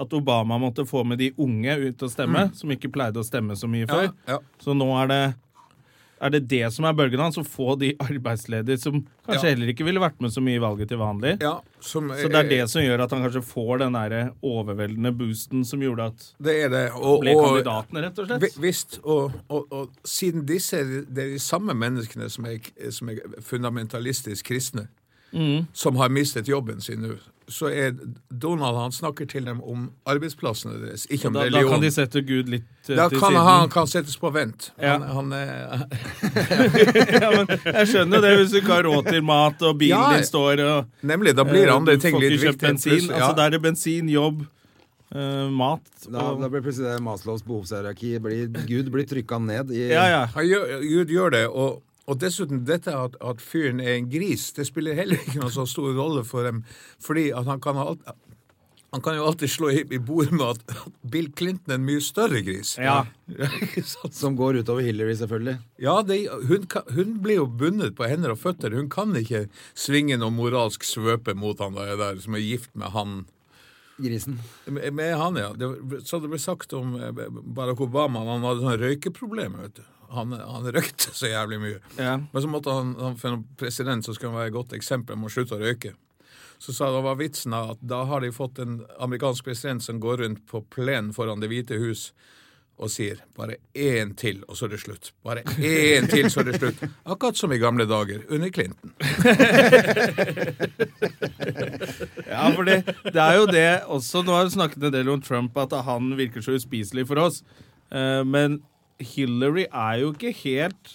S1: at Obama måtte få med de unge ut og stemme, som ikke pleide å stemme så mye før.
S3: Mm. ja.
S1: Så nå er det er det det som er bølgen hans? Å få de arbeidsledige som kanskje
S3: Ja.
S1: heller ikke ville vært med så mye i valget til vanlig?
S3: Ja, som,
S1: Så det er det som gjør at han kanskje får den der overveldende boosten som gjorde at
S3: Det er det. Og,
S1: ble
S3: og,
S1: kandidatene, rett og
S3: vi-
S1: slett?
S3: visst. Og, og, og siden disse er de- det er de samme menneskene som er, som er fundamentalistisk kristne,
S1: Mm.
S3: som har mistet jobben sin nå, så er Donald han snakker til dem om arbeidsplassene deres, ikke om
S1: Da, da
S3: religion.
S1: kan de sette Gud litt eh,
S3: da
S1: til
S3: kan
S1: siden.
S3: han kan settes på vent.
S1: Ja.
S3: Han, han er,
S1: ja, men jeg skjønner jo det, hvis du ikke har råd til mat, og bilen
S3: Ja.
S1: din står og
S3: nemlig, da blir
S1: eh,
S3: andre ting
S1: Du får
S3: litt
S1: ikke kjøpt
S3: viktigere.
S1: bensin.
S3: plutselig.
S1: Altså,
S3: ja.
S1: da er det bensin, jobb, eh, mat
S2: Da,
S1: og
S2: da blir plutselig det Maslows behovshierarki blir, Gud blir trykka ned i
S1: Ja, ja.
S3: Han gjør, Gud gjør det, og, og dessuten dette at, at fyren er en gris, det spiller heller ikke noen så stor rolle for dem, fordi at han kan ha alt... Han kan jo alltid slå i, i bordet med at at Bill Clinton er en mye større gris.
S1: Ja.
S3: Ikke sant?
S2: Som går utover Hillary, selvfølgelig.
S3: ja det, hun, kan, hun blir jo bundet på hender og føtter. Hun kan ikke svinge noe moralsk svøpe mot han der, der som er gift med han.
S2: Grisen.
S3: Med med han, ja. Det, var- så det ble sagt om eh, Barack Obama han hadde sånne røykeproblemer. vet du. Han, han røykte så jævlig mye.
S1: Ja.
S3: Men så måtte han, han for en president så skulle han være et godt eksempel med å slutte å røyke. Så sa det var vitsen av at da har de fått en amerikansk president som går rundt på plenen foran Det hvite hus og sier bare én til, og så er det slutt. Bare én til, så er det slutt. Akkurat som i gamle dager under Clinton.
S1: Ja, for det, det er jo det også Nå har vi snakket en del om Trump, at han virker så uspiselig for oss. Eh, men Hillary er jo ikke helt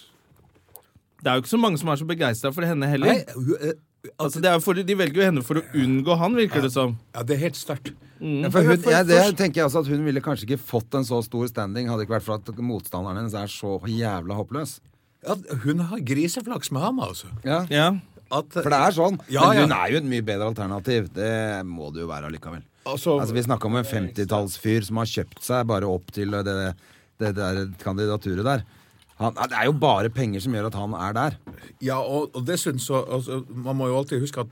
S1: Det er jo ikke så mange som er så begeistra for henne heller.
S3: Nei, hu- eh,
S1: Altså, det er jo for, de velger jo henne for å unngå han, virker det som.
S3: ja, det er helt sterkt.
S2: Ja, for hun, Mm. ja, det tenker jeg også at hun ville kanskje ikke fått en så stor standing hadde det ikke vært for at motstanderen hennes er så jævla håpløs.
S3: Ja, hun har griseflaks med ham, altså.
S2: Ja.
S1: Ja.
S3: At,
S2: For det er sånn.
S3: Ja,
S2: Men
S3: ja.
S2: hun er jo et mye bedre alternativ. Det må det jo være allikevel.
S3: Altså-
S2: altså, vi snakka om en 50-tallsfyr som har kjøpt seg bare opp til det, det der kandidaturet der. Han, det er jo bare penger som gjør at han er der.
S3: Ja, og, og dessuten så altså, Man må jo alltid huske at,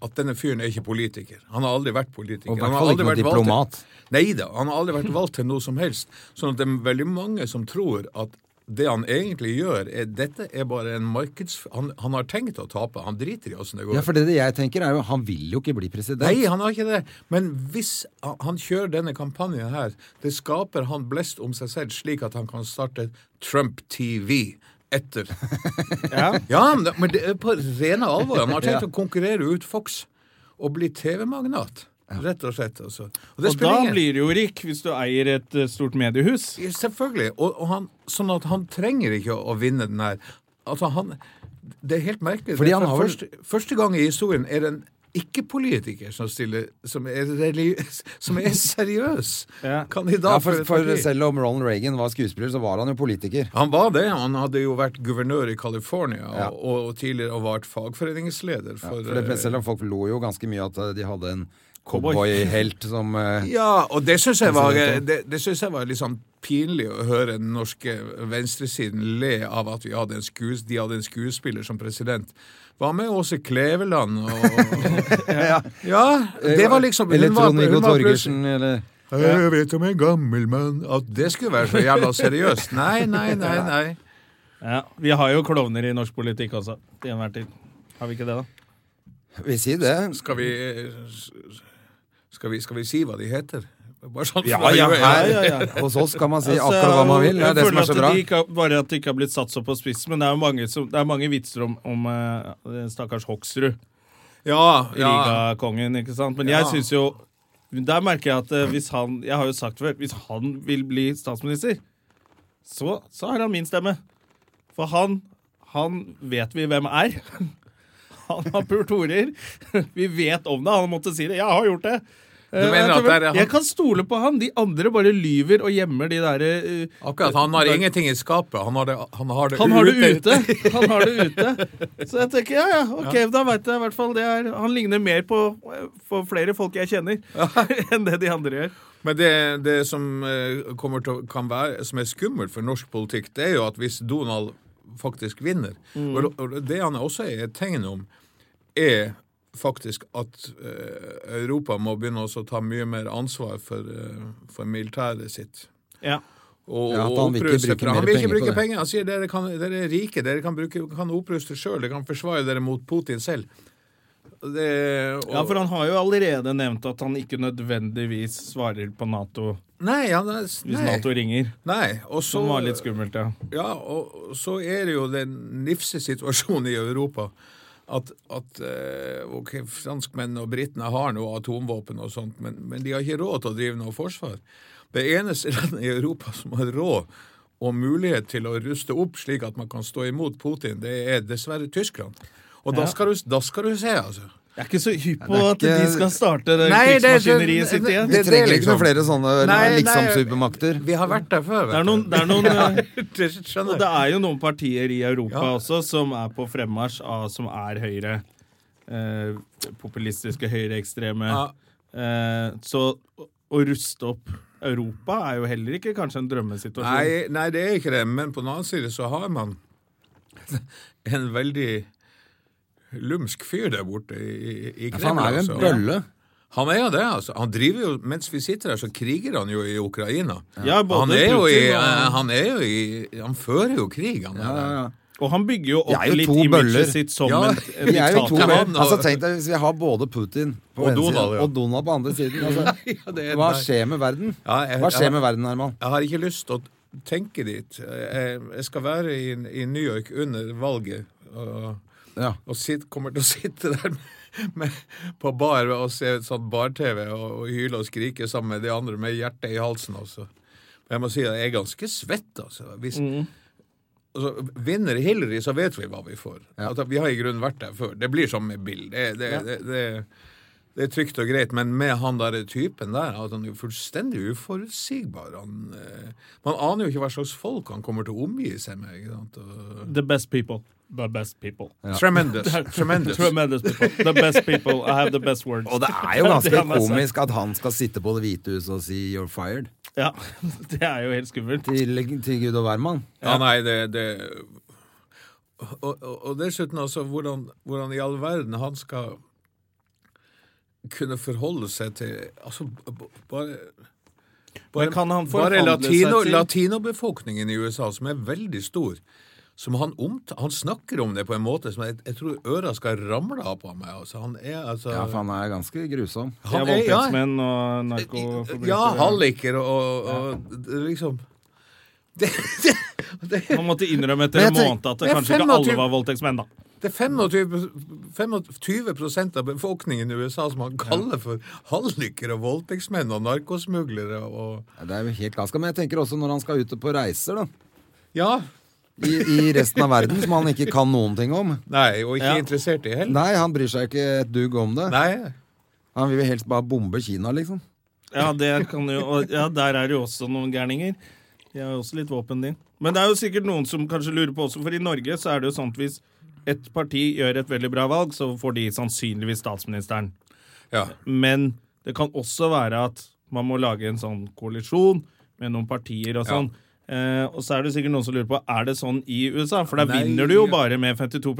S3: at denne fyren er ikke politiker. Han har aldri vært politiker.
S2: Og i hvert
S3: Han har
S2: fall
S3: aldri
S2: ikke noe
S3: vært valgt til-
S2: diplomat.
S3: Neida, han har aldri vært valgt til noe som helst. Sånn at det er veldig mange som tror at det han egentlig gjør, er dette er bare en markeds... Han, han har tenkt å tape. Han driter i åssen det går.
S2: Ja, for det, det jeg tenker er jo Han vil jo ikke bli president.
S3: Nei, han har ikke det. Men hvis han- han kjører denne kampanjen her, det skaper han blest om seg selv slik at han kan starte Trump TV etter.
S1: Ja.
S3: Ja, men det- men det er på rene alvor. Han har tenkt å konkurrere ut Fox og bli TV-magnat. Rett og slett, altså. Og det
S1: Og da
S3: spiller ingen
S1: blir du jo rik, hvis du eier et eh, stort mediehus.
S3: Selvfølgelig. Og, og han, sånn at han trenger ikke å, å vinne den her. Altså, han Det er helt merkelig.
S2: Fordi
S3: Det er
S2: han
S3: for
S2: har vel-
S3: første, første gang i historien er det en ikke-politiker som stiller Som er, religiøs, som er seriøs
S1: Ja.
S3: kandidat
S2: Ja, for,
S3: et
S2: for
S3: parti.
S2: selv om Ronald Reagan var skuespiller, så var han jo politiker.
S3: Han var det. Han hadde jo vært guvernør i California og,
S2: Ja.
S3: og, tidligere vært fagforeningsleder for,
S2: For det,
S3: eh,
S2: selv om folk lo jo ganske mye at eh, de hadde en
S1: Cowboy.
S2: cowboyhelt som eh,
S3: Ja, og det syns jeg var,
S2: President,
S3: det, det synes jeg var litt sånn pinlig å høre den norske venstresiden le av at vi hadde en skues, de hadde en skuespiller som president. Hva med Åse Kleveland og Ja, det var liksom
S2: Eller
S3: hun var- hun
S2: Trond-Viggo
S3: var plutselig-
S2: Torgersen, eller
S3: Jeg vet om en gammel mann At det skulle være så jævla seriøst. Nei, nei, nei. nei.
S1: Ja, Vi har jo klovner i norsk politikk også, til enhver tid. Har vi ikke det, da?
S2: Vi sier det.
S3: Skal vi, eh, s- s- skal vi, skal vi si hva de heter? Bare sånn
S2: Ja,
S3: for å
S2: ja,
S3: gjøre-
S2: her,
S1: ja, ja.
S2: Hos oss kan man si
S3: Altså,
S2: akkurat hva man vil. Det er
S1: eh,
S2: det som er så bra.
S1: De ikke, har- bare at det ikke har blitt satt så på spiss, men det er jo mange, som, det er mange vitser om, om eh, stakkars Hoksrud,
S3: Ja, ja.
S1: Riga-kongen, ikke sant? Men jeg
S3: Ja.
S1: syns jo Der merker jeg at eh, hvis han Jeg har jo sagt før, hvis han vil bli statsminister, så, så har han min stemme. For han, han vet vi hvem er. Han har pult horer. Vi vet om det. Han måtte si det. Jeg har gjort det. Eh,
S3: mener
S1: jeg
S3: at
S1: tror-
S3: det er han-
S1: Jeg kan stole på han. De andre bare lyver og gjemmer de eh, derre
S3: Akkurat. Han har ingenting i skapet. Han har det, han har det
S1: han har det ute! Han har det ute. Så jeg tenker ja, ja, ok, da veit jeg i hvert fall det er Han ligner mer på, på flere folk jeg kjenner, enn det de andre gjør.
S3: Men det, det som, eh, kommer til, å- kan være, som er skummelt for norsk politikk, det er jo at hvis Donald faktisk vinner
S2: Mm.
S3: og, og Det han også er et tegn om, er faktisk at eh, Europa må begynne også å ta mye mer ansvar for, eh, for militæret sitt.
S1: Ja.
S3: Og,
S2: Ja, at
S3: og
S2: han vil ikke
S3: oppruste,
S2: bruke
S3: for han
S2: mer
S3: vil ikke
S2: penger på
S3: bruke
S2: det.
S3: penger. Han sier dere, kan, dere er rike, dere kan, bruke, kan oppruste sjøl, dere kan forsvare dere mot Putin selv. Det, og,
S1: ja, for han har jo allerede nevnt at han ikke nødvendigvis svarer på Nato
S3: Nei, han er,
S1: hvis
S3: nei,
S1: Nato ringer.
S3: nei. Og så,
S1: Som var litt skummelt, ja.
S3: Ja, og så er det jo den nifse situasjonen i Europa at, at eh, ok, franskmennene og britene har noe atomvåpen og sånt, men, men de har ikke råd til å drive noe forsvar. Det eneste landet i Europa som har råd og mulighet til å ruste opp slik at man kan stå imot Putin, det er dessverre Tyskland. Og da, skal du, da skal du se, altså.
S1: Jeg er ikke så hypp på
S2: Ja,
S1: at
S2: det er
S1: de
S2: ikke-
S1: skal starte det
S3: Nei, det er- sånn-
S1: krigsmaskineriet sitt igjen.
S2: Vi
S3: Det- det
S2: trenger ikke
S3: liksom.
S2: noen liksom flere sånne
S3: Nei, nei.
S2: liksom-supermakter.
S3: Vi har vært der før,
S1: Det er
S3: vet
S1: noen, det er noen eh,
S3: du. Skjønner.
S1: Og det er jo noen partier i Europa
S3: Ja.
S1: også som er på fremmarsj, av, som er høyre. Eh, populistiske høyreekstreme.
S3: Ja.
S1: Eh, så å- å ruste opp Europa er jo heller ikke kanskje en drømmesituasjon.
S3: Nei, nei, det er ikke det, men på den annen side så har man en veldig lumsk fyr der borte i, i
S2: For han
S3: Kreml.
S2: er jo en
S3: altså.
S2: bølle.
S3: Han er jo det, altså. Han driver jo, Mens vi sitter her, så kriger han jo i Ukraina.
S1: Ja, både
S3: han, er jo i,
S1: Putin og-
S3: eh, han er jo i Han fører jo krig, han.
S2: Ja, ja, ja.
S1: Og han bygger jo opp
S2: Det er jo
S1: litt
S2: to bøller.
S1: imaget sitt som
S3: Ja,
S1: en
S2: Vi er jo to
S1: diktator.
S2: bøller.
S3: han og-
S2: Altså, tenk deg hvis vi har både Putin på
S3: Og
S2: ene
S3: Donald,
S2: siden
S3: ja.
S2: og Donald på andre siden. Altså,
S3: Ja, det er-
S2: hva
S3: nei.
S2: skjer med verden?
S3: Ja, jeg-
S2: Hva
S3: jeg-
S2: skjer med verden, Herman?
S3: Jeg har ikke lyst til å tenke dit. Jeg, jeg skal være i, i New York under valget. og...
S2: Ja.
S3: og sitt, kommer til å sitte der med, med, på bar og se et sånt bar-TV og, og hyle og skrike sammen med de andre med hjertet i halsen. Altså. Men jeg må si at jeg er ganske svett, altså. Hvis, altså vinner Hillary, så vet vi hva vi får. Altså, vi har i grunnen vært der før. Det blir som med Bill. Det, det, det, det, det er trygt og greit, men med han der typen der, at han er jo fullstendig uforutsigbar. Han, eh, man aner jo ikke hva slags folk han kommer til å omgi seg med. Ikke sant? Og,
S1: The best people. The best people.
S3: Tremendous. Tremendous.
S1: Tremendous people. The best people. I have the best words.
S2: Og det er jo ganske
S1: Det han har sagt.
S2: komisk at han skal sitte på Det hvite huset og si 'you're fired'
S1: Ja, det er jo helt skummelt.
S2: til, til Gud og hvermann.
S3: Ja, nei, det, det og, og, og dessuten altså hvordan, hvordan i all verden han skal kunne forholde seg til Altså b- b- bare
S1: Men kan han
S3: bare
S1: forhandle seg
S3: latino,
S1: til-
S3: latinobefolkningen i USA, som er veldig stor som Han omt, han snakker om det på en måte som jeg, jeg tror øra skal ramle av på meg. Altså, han er altså
S2: Ja, for han er ganske grusom.
S1: De er
S3: han er- ja.
S1: voldtektsmenn og narkoforbrytere.
S3: Ja, halliker og, og, og det- liksom det, det, det,
S1: Han måtte innrømme
S2: Men
S1: etter en
S2: jeg tenk-
S1: måned at det
S3: Men
S1: kanskje ikke
S3: 25
S1: alle var voldtektsmenn, da.
S3: Det er 25, 25 av befolkningen i USA som han kaller for hallikere, og voldtektsmenn og narkosmuglere og
S2: Ja, Det er jo helt galskap. Men jeg tenker også når han skal ut på reiser, da.
S3: Ja.
S2: I, I resten av verden, som han ikke kan noen ting om.
S3: Nei, og ikke
S1: Ja.
S3: interessert i heller.
S2: Nei, han bryr seg ikke et dugg om det.
S3: Nei.
S2: Han vil jo helst bare bombe Kina, liksom.
S1: Ja, det kan jo, og, ja, der er det jo også noen gærninger. De har jo også litt våpen, de. Men det er jo sikkert noen som kanskje lurer på også, for i Norge så er det jo sånn at hvis et parti gjør et veldig bra valg, så får de sannsynligvis statsministeren.
S3: Ja.
S1: Men det kan også være at man må lage en sånn koalisjon med noen partier og sånn. Eh, og så er det sikkert noen som lurer på er det sånn i USA, for da
S3: Nei.
S1: vinner du jo bare med 52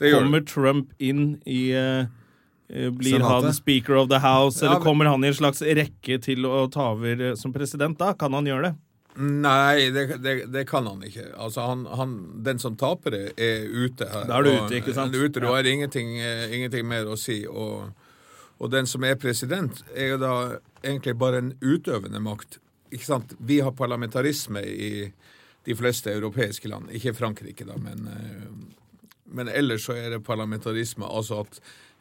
S3: Det gjør
S1: Kommer Trump inn i eh, eh, Blir
S2: Senatet.
S1: han speaker of the house,
S2: Ja,
S1: eller
S2: men-
S1: kommer han i en slags rekke til å ta over eh, som president? Da kan han gjøre det.
S3: Nei, det, det, det kan han ikke. Altså, han, han, den som taper det, er ute her.
S1: Da er du
S3: Og-
S1: ute, ikke sant?
S3: Du er ute, du har ingenting, eh, ingenting mer å si. Og, og den som er president, er jo da egentlig bare en utøvende makt. Ikke sant? Vi har parlamentarisme i de fleste europeiske land. Ikke Frankrike, da, men eh, men ellers så er det parlamentarisme, altså at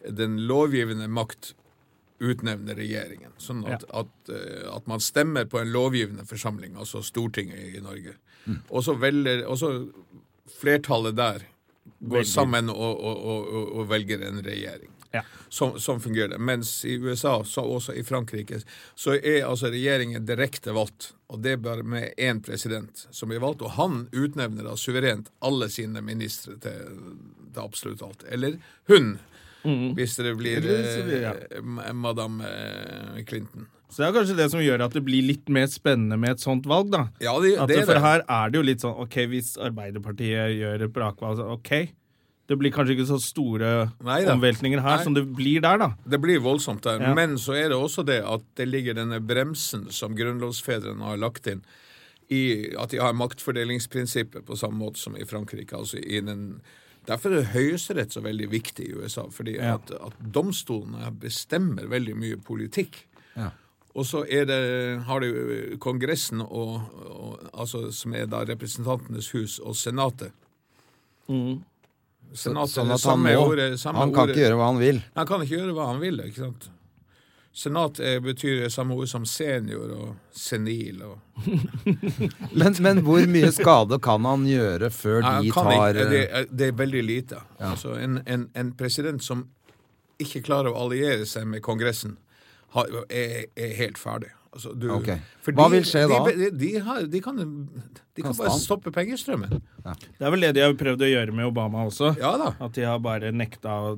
S3: den lovgivende makt utnevner regjeringen. Sånn at, at, eh, at man stemmer på en lovgivende forsamling, altså Stortinget i Norge. Og så velger Og så flertallet der går sammen og, og, og, og, og velger en regjering.
S1: Ja.
S3: Som, som fungerer. Mens i USA, så også i Frankrike, så er altså regjeringen direkte valgt. Og det er bare med én president som blir valgt. Og han utnevner da suverent alle sine ministre til, til absolutt alt. Eller hun, hvis det blir
S1: Mm. Eller- ja.
S3: eh, ma- madame eh, Clinton.
S1: Så det er kanskje det som gjør at det blir litt mer spennende med et sånt valg, da.
S3: Ja, det,
S1: At
S3: det
S1: det,
S3: er
S1: for
S3: det.
S1: her er det jo litt sånn OK, hvis Arbeiderpartiet gjør et brakvalg, så OK. Det blir kanskje ikke så store
S3: Nei da.
S1: omveltninger her
S3: Nei.
S1: som det blir der, da.
S3: Det blir voldsomt der.
S1: Ja.
S3: Men så er det også det at det ligger denne bremsen som grunnlovsfedrene har lagt inn, i at de har maktfordelingsprinsippet på samme måte som i Frankrike. altså i den... Derfor er Høyesterett så veldig viktig i USA, fordi
S1: Ja.
S3: at, at domstolene bestemmer veldig mye politikk.
S2: Ja.
S3: Og så er det, har du Kongressen, og, og, altså, som er da Representantenes hus, og Senatet. Senatet
S2: Mm. Sånn
S3: er
S2: at han,
S3: samme
S2: må,
S3: ordet, samme
S2: han kan
S3: ordet.
S2: ikke gjøre hva han vil.
S3: Han kan ikke gjøre hva han vil, ikke sant? Senat eh, betyr samme ord som senior og senil. Og...
S2: Men, men hvor mye skade kan han gjøre før
S3: Nei, han
S2: de
S3: kan
S2: tar eh,
S3: ikke. Det, er- det er veldig lite. Altså, en, en, en president som ikke klarer å alliere seg med Kongressen, har, er, er helt ferdig. Altså, du,
S2: Ok.
S3: for
S2: Hva
S3: de-
S2: vil skje
S3: de,
S2: da?
S3: De, de, har, de kan, de kan
S2: Kaste
S3: bare
S2: han?
S3: stoppe pengestrømmen.
S1: Det er vel det de har prøvd å gjøre med Obama også.
S3: Ja da.
S1: At de har bare nekta å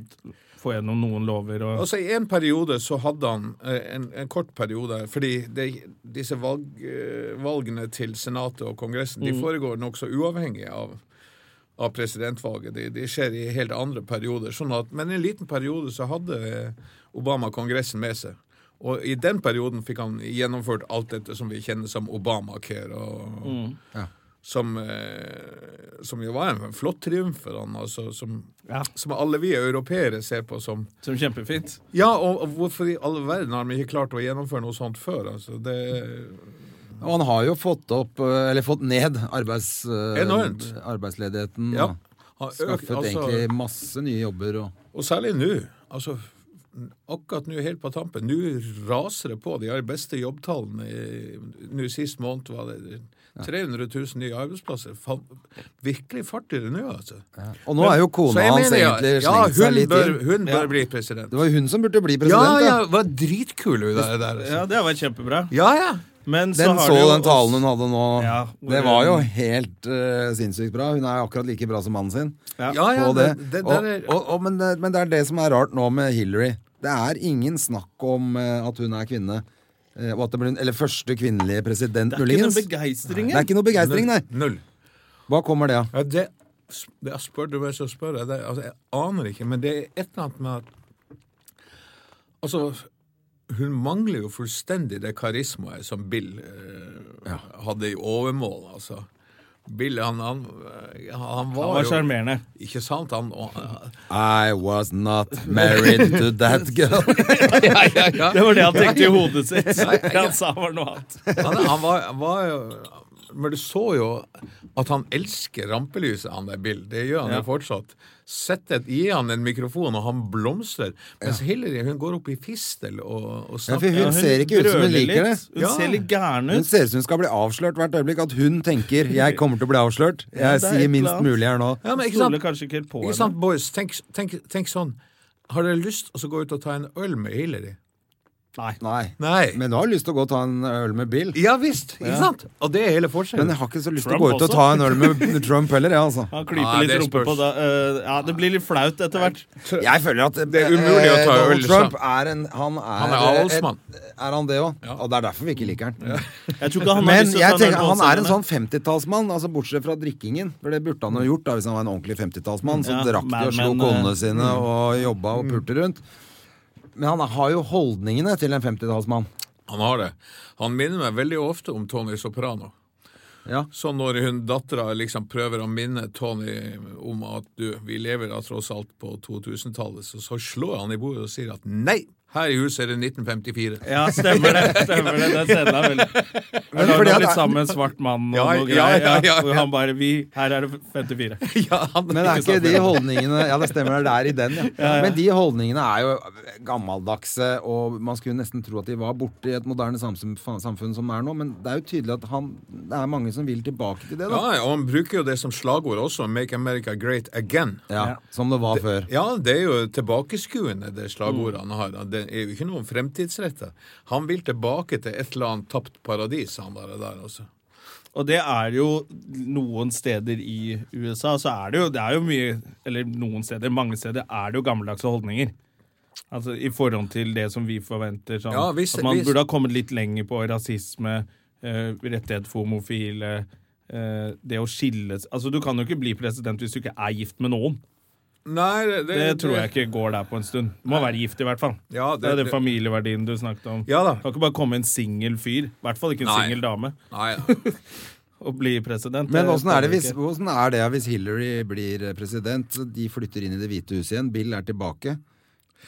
S1: få gjennom noen lover og
S3: Altså I en periode så hadde han eh, en, en kort periode Fordi det, disse valg, eh, valgene til Senatet og Kongressen
S1: Mm.
S3: De foregår nokså uavhengig av, av presidentvalget. De, de skjer i helt andre perioder. Sånn at, men i en liten periode så hadde eh, Obama Kongressen med seg. Og i den perioden fikk han gjennomført alt dette som vi kjenner som Obamacare. Og,
S1: Mm.
S2: Ja.
S3: som, eh, som jo var en flott triumf for han, altså, som,
S1: Ja.
S3: som alle vi europeere ser på som
S1: Som kjempefint.
S3: ja, og og hvorfor i all verden har de ikke klart å gjennomføre noe sånt før? Altså, det,
S2: Og han har jo fått opp, eh, eller fått ned arbeids, eh,
S3: Enormt.
S2: arbeidsledigheten.
S3: ja,
S2: og
S3: har økt,
S2: Skaffet
S3: altså,
S2: egentlig masse nye jobber. Og,
S3: og særlig nå. Altså, akkurat nå helt på tampen. Nå raser det på. De har de beste jobbtallene i- nå sist måned. var det 300 000 nye arbeidsplasser. Fan, virkelig fart i det nå, altså.
S2: og nå er jo
S3: Så
S2: kona
S3: jeg
S2: hans
S3: mener, ja,
S2: egentlig
S3: ja,
S2: slengt
S3: hun
S2: seg litt
S3: bør,
S2: inn.
S3: Hun bør
S1: Ja.
S3: bli president.
S2: Det var jo hun som burde bli
S3: Ja,
S2: president.
S3: ja,
S2: da.
S3: var dritkul hun der. der altså.
S1: Ja, det har vært kjempebra.
S3: Ja, ja.
S1: Men så
S2: Den
S1: har
S2: så
S1: det jo
S2: den talen hun hadde nå.
S1: Ja, hvor
S2: det var jo
S1: hun-
S2: helt eh, sinnssykt bra. Hun er akkurat like bra som mannen sin.
S1: Ja.
S3: ja, ja
S2: på det.
S3: det- det der
S2: og,
S3: er-
S2: og, og, men, det, men det er det som er rart nå med Hillary. Det er ingen snakk om eh, at hun er kvinne. eh, og at det blir, en- eller første kvinnelige president,
S1: Det er ikke
S2: muligens.
S1: den
S2: Det
S1: begeistringen.
S2: er ikke noe begeistring, nei.
S3: Null.
S2: Hva kommer det av?
S3: Ja, det, det jeg spør du meg, så spør jeg deg. Altså, jeg aner ikke, men det er et eller annet med at Altså, hun mangler jo fullstendig det karismaet som Bill eh, hadde i overmål, altså. Bill, han, han, eh, han var,
S1: Han var
S3: jo
S1: sjarmerende.
S3: Ikke sant? Han, og,
S2: I was not married to that girl.
S1: Det var det han tenkte i hodet sitt. Det han sa var noe annet.
S3: han, han var, var jo Men du så jo at han elsker rampelyset, han der Bill. Det gjør han
S1: Ja.
S3: jo fortsatt. Sett et, gi han en mikrofon, og han blomstrer. Mens Hillary hun går opp i fistel og,
S2: Ja,
S3: og
S2: for
S3: snakker.
S2: hun ser ikke ut som hun
S1: brøler
S2: liker det.
S1: litt. Hun
S3: Ja.
S1: ser litt gæren
S2: Hun
S1: ut.
S2: ser ut som hun skal bli avslørt hvert øyeblikk. At hun tenker 'jeg kommer til å bli avslørt'. Jeg
S1: Ja, det er et
S2: sier
S1: eller
S2: minst
S1: annet.
S2: mulig her nå.
S3: Ja, men ikke sant?
S1: Stoler kanskje ikke helt på
S3: Ikke
S1: henne.
S3: sant, boys? Tenk, tenk, tenk sånn. Har dere lyst til å gå ut og ta en øl med Hillary?
S1: Nei.
S2: Nei.
S3: Nei.
S2: Men du har lyst til å gå og ta en øl med Bill.
S3: ja visst! Ikke sant? Og det er hele forskjellen.
S2: Men jeg har ikke så lyst til å
S1: Trump
S2: gå ut og
S1: også?
S2: ta en øl med Trump heller, jeg, altså.
S1: Han
S3: Ja,
S1: klyper litt
S3: det
S1: rumpe
S3: spørs.
S1: på da. eh, ja, det blir litt flaut etter hvert.
S2: Jeg føler at
S3: Det er umulig å ta
S2: eh,
S3: øl,
S2: Donald Trump er en Han er,
S3: Han er avholdsmann.
S2: et- Er han det òg? Og det er derfor vi ikke liker han.
S1: Jeg tror ikke han har
S2: Men
S1: lyst til å
S2: jeg
S1: ta
S2: tenker,
S1: narkotika
S2: han er en
S1: med.
S2: sånn 50-tallsmann, altså bortsett fra drikkingen. For det burde han jo gjort da hvis han var en ordentlig 50-tallsmann. Så
S1: Ja,
S2: drakk de og slo
S1: men, men,
S2: konene
S1: eh, Mm.
S2: sine og jobba og pulte rundt. Men han har jo holdningene til en 50-tallsmann.
S3: Han har det. Han minner meg veldig ofte om Tony Soprano.
S2: Ja.
S3: Så når hun dattera liksom prøver å minne Tony om at du, vi lever da tross alt på 2000-tallet, så, så slår han i bordet og sier at nei, her i huset er det 1954.
S1: Ja, stemmer det. stemmer det, Den scenen er veldig Men
S2: fordi
S1: fordi
S2: at-
S1: han blitt sammen med en svart mann og
S3: Ja,
S1: noe
S3: ja,
S1: greier.
S3: ja, ja,
S1: Hvor
S3: ja.
S1: han bare vi, Her er det 54.
S3: Ja, han-
S2: Men er ikke de holdningene Ja, det stemmer, det er i den, ja. Men de holdningene er jo gammeldagse, og man skulle nesten tro at de var borte i et moderne samfunn, samfunn som er nå, men det er jo tydelig at han Det er mange som vil tilbake til det,
S3: ja,
S2: da.
S3: og han bruker jo det som slagord også, 'Make America Great Again'.
S2: Ja, Som det var før.
S3: Ja, det er jo tilbakeskuende, det slagordet han har. Det er jo ikke noe fremtidsrettet. Han vil tilbake til et eller annet tapt paradis, han der, der altså. også.
S1: Og det er jo noen steder i USA, så er det jo, det er jo mye Eller noen steder, mange steder er det jo gammeldagse holdninger. Altså I forhold til det som vi forventer. Sånn,
S3: Ja, hvis-
S1: at man
S3: hvis-
S1: burde ha kommet litt lenger på rasisme, eh, rettighet for homofile, eh, det å skille Altså Du kan jo ikke bli president hvis du ikke er gift med noen.
S3: Nei, Eh, det,
S1: Det tror jeg ikke går der på en stund. Du må være gift, i hvert fall.
S3: Ja,
S1: det, er den familieverdien du snakket om.
S3: Ja da.
S1: Kan ikke bare komme en singel fyr, i hvert fall ikke en
S3: Nei.
S1: singel dame,
S3: Nei, nei.
S1: og bli president.
S2: Men
S1: Det
S2: åssen er, det
S1: kan
S2: hvis-
S1: ikke.
S2: hvordan er det hvis Hillary blir eh, president? De flytter inn i Det hvite huset igjen. Bill er tilbake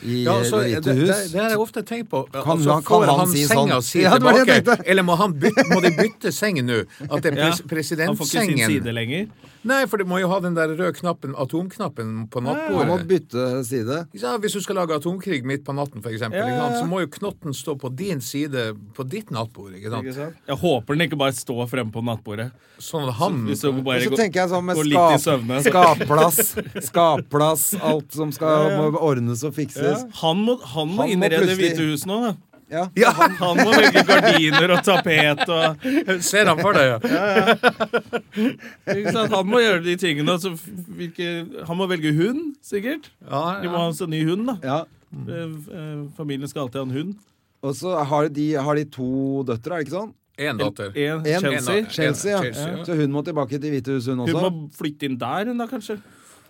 S2: i
S3: Ja, altså,
S2: Det hvite
S3: det, det,
S2: hus.
S3: det har jeg ofte tenkt på.
S2: Kan
S3: altså,
S2: han- kan
S3: får
S2: han
S3: han,
S2: si
S3: senga
S2: sånn?
S3: si
S2: Ja, det var det jeg
S3: tilbake?
S2: tenkte.
S3: Eller må, han bytte, må de bytte seng nå? At det er
S1: Ja,
S3: pres
S1: Han får ikke sin side
S3: presidentsengen?
S1: lenger.
S3: Nei, for du må jo ha den der røde knappen, atomknappen, på
S2: Han må
S3: nattbordet.
S2: bytte side.
S3: Ja, hvis du skal lage atomkrig midt på natten, for eksempel, ikke sant, så må jo knotten stå på din side på ditt nattbord. ikke sant?
S1: Jeg håper den ikke bare står fremme på nattbordet.
S3: Sånn at han
S1: Hvis du bare
S2: Så
S1: går,
S2: tenker jeg sånn med
S1: går litt i
S2: skap,
S1: søvne. så-
S2: skapplass, skapplass, alt som skal må ordnes og
S1: Ja.
S2: fikses.
S1: Han må, han må
S2: Han må
S1: innrede
S2: plutselig-
S1: Hvite hus nå, da.
S2: Ja.
S1: Han, han må velge gardiner og tapet og
S3: Ser han for deg, ja.
S1: ikke sant? Han må gjøre de tingene. og Så f- hvilke, han må velge hund, sikkert.
S3: ja,
S1: De må
S3: ja.
S1: ha seg ny hund, da.
S2: Ja.
S1: Eh, eh, Familien skal alltid ha en hund.
S2: Og så har de, har de to døtre, er det ikke sånn?
S3: En datter.
S1: En,
S2: En-
S1: Chelsea.
S3: en-
S2: Chelsea, ja.
S3: Chelsea, ja.
S2: Så hun må tilbake til Hvite hus, hun
S1: Hun
S2: også.
S1: må flytte inn der, hun da, kanskje.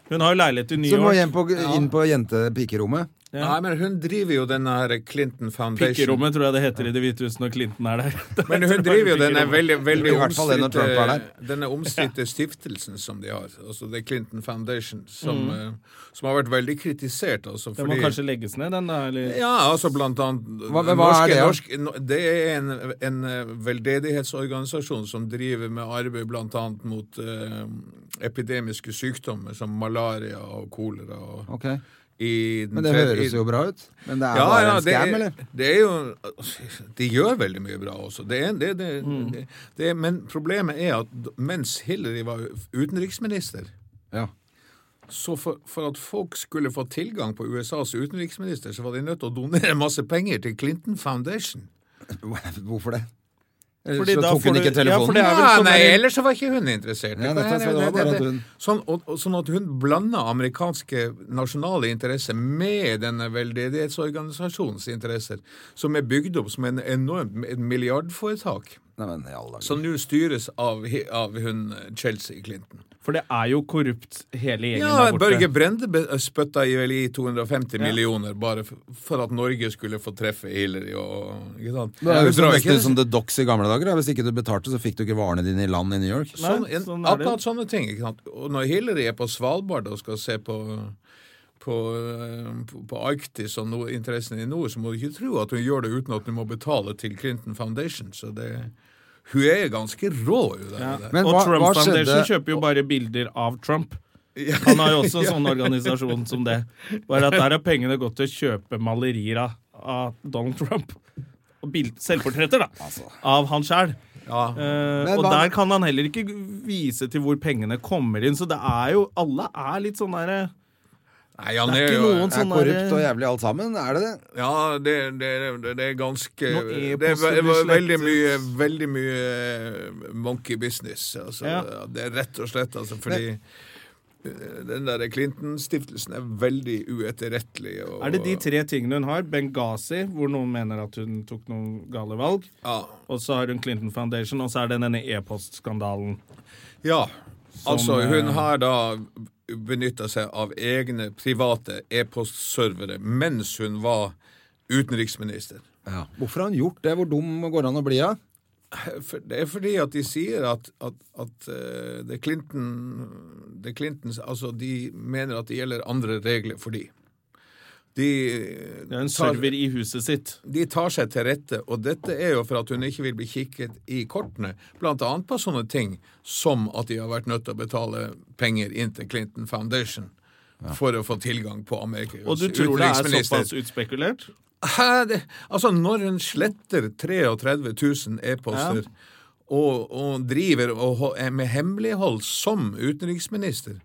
S1: Hun har jo leilighet i New
S2: så hun må
S1: York.
S2: hjem på, inn på jente-pikerommet.
S3: Nei, men hun driver jo denne her Clinton Foundation.
S1: Pikkerommet tror jeg det heter i Det hvite huset når Clinton er der.
S3: Men hun driver jo denne
S1: Pikkerommet.
S3: veldig, veldig
S2: I hvert fall det når Trump er
S3: omstridte, denne omstridte stiftelsen som de har. Altså The Clinton Foundation, som,
S2: Mm.
S3: eh, som har vært veldig kritisert. Altså,
S1: Den må
S3: fordi-
S1: kanskje legges ned, den da? Eller?
S3: Ja, altså blant annet
S2: Hva- hva er
S3: norske-
S2: det, ja?
S3: norske- no- det er en, en eh, veldedighetsorganisasjon som driver med arbeid blant annet mot eh, epidemiske sykdommer som malaria og kolera. Og,
S2: Ok.
S3: i den
S2: Men det
S3: tre-
S2: høres
S3: i-
S2: jo bra ut. Men det er
S3: ja,
S2: bare
S3: ja,
S2: en
S3: det,
S2: skam,
S3: er,
S2: eller?
S3: det er jo De gjør veldig mye bra også. Det er, det, det,
S2: Mm.
S3: det, det, men problemet er at d- mens Hillary var utenriksminister,
S2: Ja.
S3: så for, for at folk skulle få tilgang på USAs utenriksminister, så var de nødt til å donere masse penger til Clinton Foundation.
S2: Hvorfor det? Eller
S1: Fordi
S2: så
S1: da
S2: tok
S1: får
S2: hun
S1: du-
S2: ikke
S1: ja, for
S2: telefonen?
S1: det er vel
S3: Ja,
S1: sånn
S3: nei,
S1: der-
S3: ellers så var ikke hun interessert.
S2: Ja, nettopp, så det var bare at hun-
S3: Sånn, og, og, sånn at hun blanda amerikanske nasjonale interesser med denne veldedighetsorganisasjonens interesser, som er bygd opp som en enormt et milliardforetak,
S2: Nei, men i alle dager.
S1: Sånn-
S3: som nå styres av, he- av hun Chelsea Clinton.
S1: For det er jo korrupt, hele gjengen der
S3: Ja,
S1: borte.
S3: Børge Brende be- spytta i vel i 250 millioner bare f- for at Norge skulle få treffe Hillary og ikke sant?
S2: Det er
S3: Du
S2: jo
S3: drar
S2: så
S3: ikke-
S2: nesten som The Docks i gamle dager. da. Hvis ikke du betalte, så fikk du ikke varene dine i land i New York.
S1: Nei,
S3: Sånn, en,
S1: sånn er det jo.
S3: akkurat sånne ting. Ikke sant? Og når Hillary er på Svalbard og skal se på på, eh, på, på Arktis og no, interessen i nord, så må du ikke tro at hun gjør det uten at hun må betale til Clinton Foundation. Så det, hun er ganske rå, hun der. der.
S2: Men
S1: og
S2: hva-
S1: Trump
S2: hva
S1: Foundation
S2: skjedde-
S1: kjøper jo bare bilder av Trump. Han har jo også en sånn organisasjon som det. Bare at der har pengene gått til å kjøpe malerier av- av Donald Trump. Og bild, selvportretter, da. Av han sjæl.
S3: Ja.
S1: Eh, og
S2: Altså. hva-
S1: der kan han heller ikke vise til hvor pengene kommer inn. Så det er jo Alle er litt sånn derre
S3: Nei, han
S1: Det er
S3: er,
S1: ikke
S3: jo
S1: noen
S2: Det er
S1: sånn
S2: korrupt og
S1: derre
S2: jævlig alt sammen, er det det?
S3: Ja, det, det, det, det er ganske
S1: Når
S3: Det er
S1: e-poster
S3: ve-
S1: blir
S3: veldig
S1: slettet.
S3: mye, veldig mye monkey business. Altså,
S1: Ja.
S3: Det er rett og slett altså, fordi eh, den der Clinton-stiftelsen er veldig uetterrettelig. Og,
S1: Er det de tre tingene hun har? Benghazi, hvor noen mener at hun tok noen gale valg.
S3: Ja.
S1: Og så har hun Clinton Foundation, og så er det denne e-postskandalen.
S3: Ja. altså,
S1: eh,
S3: hun har da benytta seg av egne private e-postservere mens hun var utenriksminister.
S2: Ja. Hvorfor har hun gjort det? Hvor dum går han å bli av?
S3: For, det er fordi at de sier at, at, at eh, det Clinton det Clintons, Altså, de mener at det gjelder andre regler for de. De, eh,
S1: Det er en
S3: tar,
S1: server i huset sitt.
S3: de tar seg til rette, og dette er jo for at hun ikke vil bli kikket i kortene, blant annet på sånne ting som at de har vært nødt til å betale penger inn til Clinton Foundation for å få tilgang på Amerikas
S1: Og du tror det er
S3: utenriksminister.
S1: såpass utspekulert?
S3: Hæ, det, altså Når hun sletter 33 000 e-poster og, og driver og, ho- er med hemmelighold som utenriksminister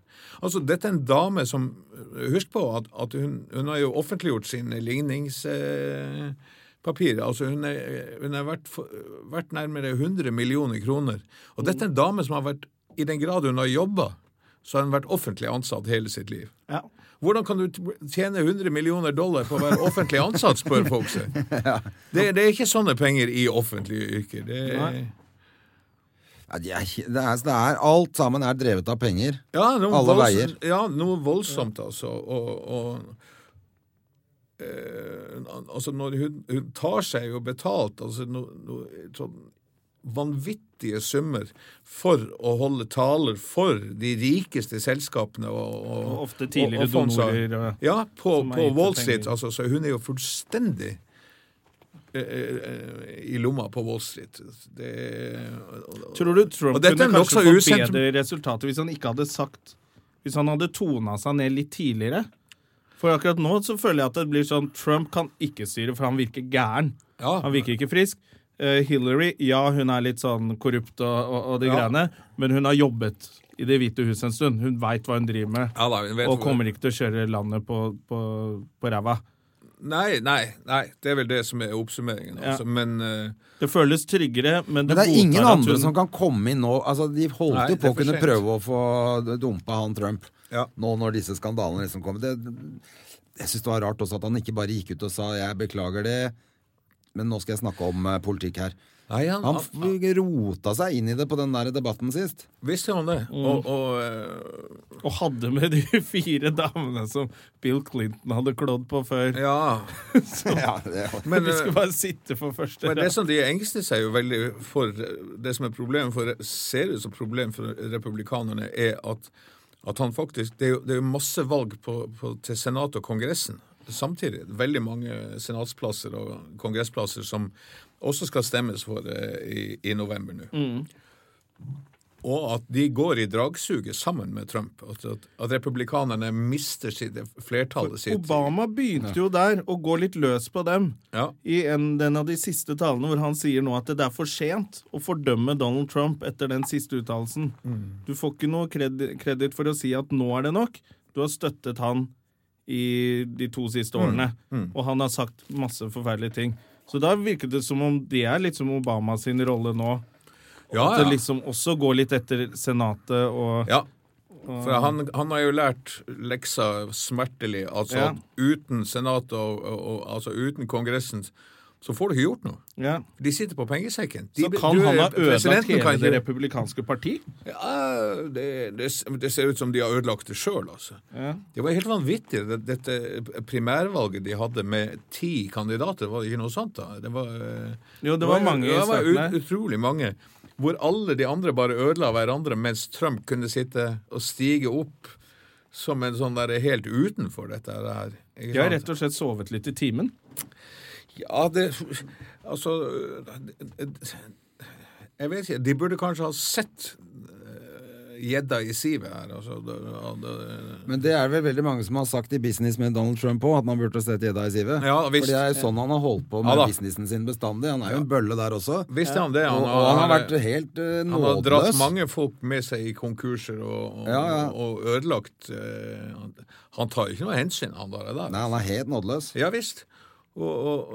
S3: Altså, Dette er en dame som eh, Husk på at, at hun, hun har jo offentliggjort sine ligningspapirer. Eh, papirer. altså Hun er- hun har vært, for- vært nærmere 100 millioner kroner. Og dette er en dame som har vært I den grad hun har jobba, så har hun vært offentlig ansatt hele sitt liv.
S1: Ja.
S3: Hvordan kan du t- tjene 100 millioner dollar på å være offentlig ansatt, spør folk seg. Det, det er ikke sånne penger i offentlige yrker. Det,
S1: Nei.
S2: Ja, det er, det er, det er, alt sammen er drevet av penger.
S3: ja, noe
S2: Alle
S3: volds-
S2: veier.
S3: Ja, noe voldsomt, altså. Og, og eh, altså når hun, hun tar seg jo betalt altså no, no, sånn vanvittige summer for å holde taler for de rikeste selskapene og, og,
S1: Og ofte tidligere
S3: fondsager.
S1: donorer, og-
S3: Ja, på,
S1: som har
S3: på
S1: gitt
S3: Wall
S1: penger.
S3: Street. Altså, så hun er jo fullstendig eh, eh, i lomma på Wall Street. Det,
S1: Tror du Trump
S3: Og dette
S1: kunne
S3: er
S1: kanskje
S3: nokså
S1: fått
S3: usentrum-
S1: bedre resultater hvis han ikke hadde sagt Hvis han hadde tona seg ned litt tidligere? For akkurat nå så føler jeg at det blir sånn Trump kan ikke styre, for han virker gæren.
S3: Ja.
S1: Han virker ikke frisk. Eh, Hillary, ja, hun er litt sånn korrupt og, og, og de
S3: Ja.
S1: greiene, men hun har jobbet i Det hvite huset en stund. Hun veit hva hun driver med,
S3: Ja da, hun vet
S1: og
S3: hvor-
S1: kommer ikke til å kjøre landet på, på, på ræva.
S3: Nei, nei, nei. Det er vel det som er oppsummeringen. Altså. Men eh,
S1: Det føles tryggere, men
S2: Men
S1: det,
S2: det er ingen
S1: godtar at
S2: andre
S1: hun-
S2: som kan komme inn nå. Altså, de holdt
S3: Nei,
S2: jo på å
S3: det er
S2: kunne
S3: for sent.
S2: prøve å få dumpa han Trump
S3: Ja.
S2: nå når disse skandalene liksom kom. Det, jeg syns det var rart også at han ikke bare gikk ut og sa 'jeg beklager det', men nå skal jeg snakke om eh, politikk her.
S3: Nei, han-
S2: han,
S3: han-
S2: f- rota seg inn i det på den der debatten sist.
S3: visste han det? Og, og eh,
S1: Og hadde med de fire damene som Bill Clinton hadde klådd på før.
S3: Ja.
S2: Ja, det,
S3: Men,
S1: de skulle
S3: eh,
S1: bare sitte for første
S3: men det
S1: rad.
S3: som de engster seg jo veldig for, eh, det som er problemet for, ser ut som problem for republikanerne, er at, at han faktisk Det er jo, det er jo masse valg på, på, til Senatet og Kongressen samtidig. Veldig mange senatsplasser og kongressplasser som også skal stemmes for eh, i, i november nå. Og at de går i dragsuget sammen med Trump. At, at, at republikanerne mister sitt, flertallet sitt.
S1: Obama begynte jo der å gå litt løs på dem
S3: Ja.
S1: i en, den av de siste talene hvor han sier nå at det er for sent å fordømme Donald Trump etter den siste uttalelsen.
S3: Mm.
S1: Du får ikke noe kredi- kreditt for å si at nå er det nok. Du har støttet han i de to
S3: Mm.
S1: siste årene, og han har sagt masse forferdelige ting. Så da virket det som om det er liksom Obama sin rolle nå.
S3: Ja,
S1: At det
S3: ja.
S1: liksom også går litt etter Senatet og
S3: Ja. For han, han har jo lært leksa smertelig. Altså
S1: Ja.
S3: at uten Senatet og, og, og altså uten Kongressen, så får du ikke gjort noe.
S1: Ja.
S3: De sitter på pengesekken. De,
S1: Så kan
S3: du-
S1: han ha ødelagt
S3: presidenten kan
S1: hele det
S3: ikke-
S1: republikanske parti?
S3: ja, det, det, det ser ut som de har ødelagt det sjøl, altså. Det var helt vanvittig, det- dette primærvalget de hadde med ti kandidater. Var det ikke noe sånt, da? Det var, eh,
S1: Jo, det var mange i
S3: Det var
S1: starten her.
S3: ut, utrolig mange. Hvor alle de andre bare ødela hverandre, mens Trump kunne sitte og stige opp som en sånn der helt utenfor dette her. ikke
S1: De har
S3: sant?
S1: rett og slett sovet litt i timen.
S3: Ja, det Altså det- Jeg vet ikke. De burde kanskje ha sett eh, gjedda i sivet her. Altså, det, ja, det,
S2: men det er vel veldig mange som har sagt i business med Donald Trump òg, at man burde sett gjedda i sivet.
S3: Ja,
S2: For
S3: visst.
S2: det er jo sånn han har holdt på
S3: Ja
S2: med
S3: da.
S2: businessen sin bestandig. Han er jo en bølle der også.
S3: visste han det?
S2: og, og han har vært helt eh,
S3: han
S2: nådeløs.
S3: har dratt mange folk med seg i konkurser og, og,
S2: Ja, ja.
S3: og ødelagt eh, han- Han tar ikke noe hensyn, han der. der.
S2: Nei, han er helt nådeløs.
S3: Ja visst. Og, og,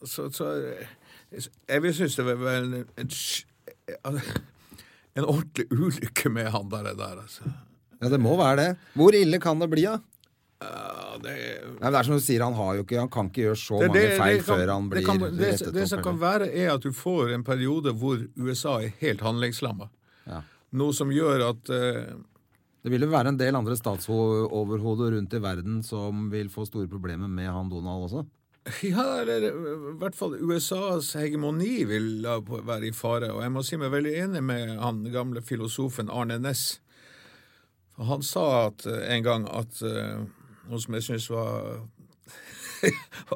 S3: og så, så Jeg vil synes det var en, en, sj- en ordentlig ulykke med han der, der altså.
S2: Ja, det må være det. Hvor ille kan det bli, da?
S3: Ja, det,
S2: Nei, men det er som du sier, han, har jo ikke, han kan ikke gjøre så
S3: det,
S2: mange
S3: det,
S2: feil
S3: det kan-
S2: før han blir
S3: det, kan, det,
S2: rettet
S3: det
S2: opp,
S3: som
S2: eller-
S3: kan være, er at du får en periode hvor USA er helt handlingslamma. Noe som gjør at eh,
S2: Det vil jo være en del andre statsoverhoder rundt i verden som vil få store problemer med han Donald også.
S3: Ja, eller i hvert fall USAs hegemoni vil da på- være i fare, og jeg må si meg veldig enig med han gamle filosofen Arne Næss. For Han sa at, eh, en gang at eh, noe som jeg syns var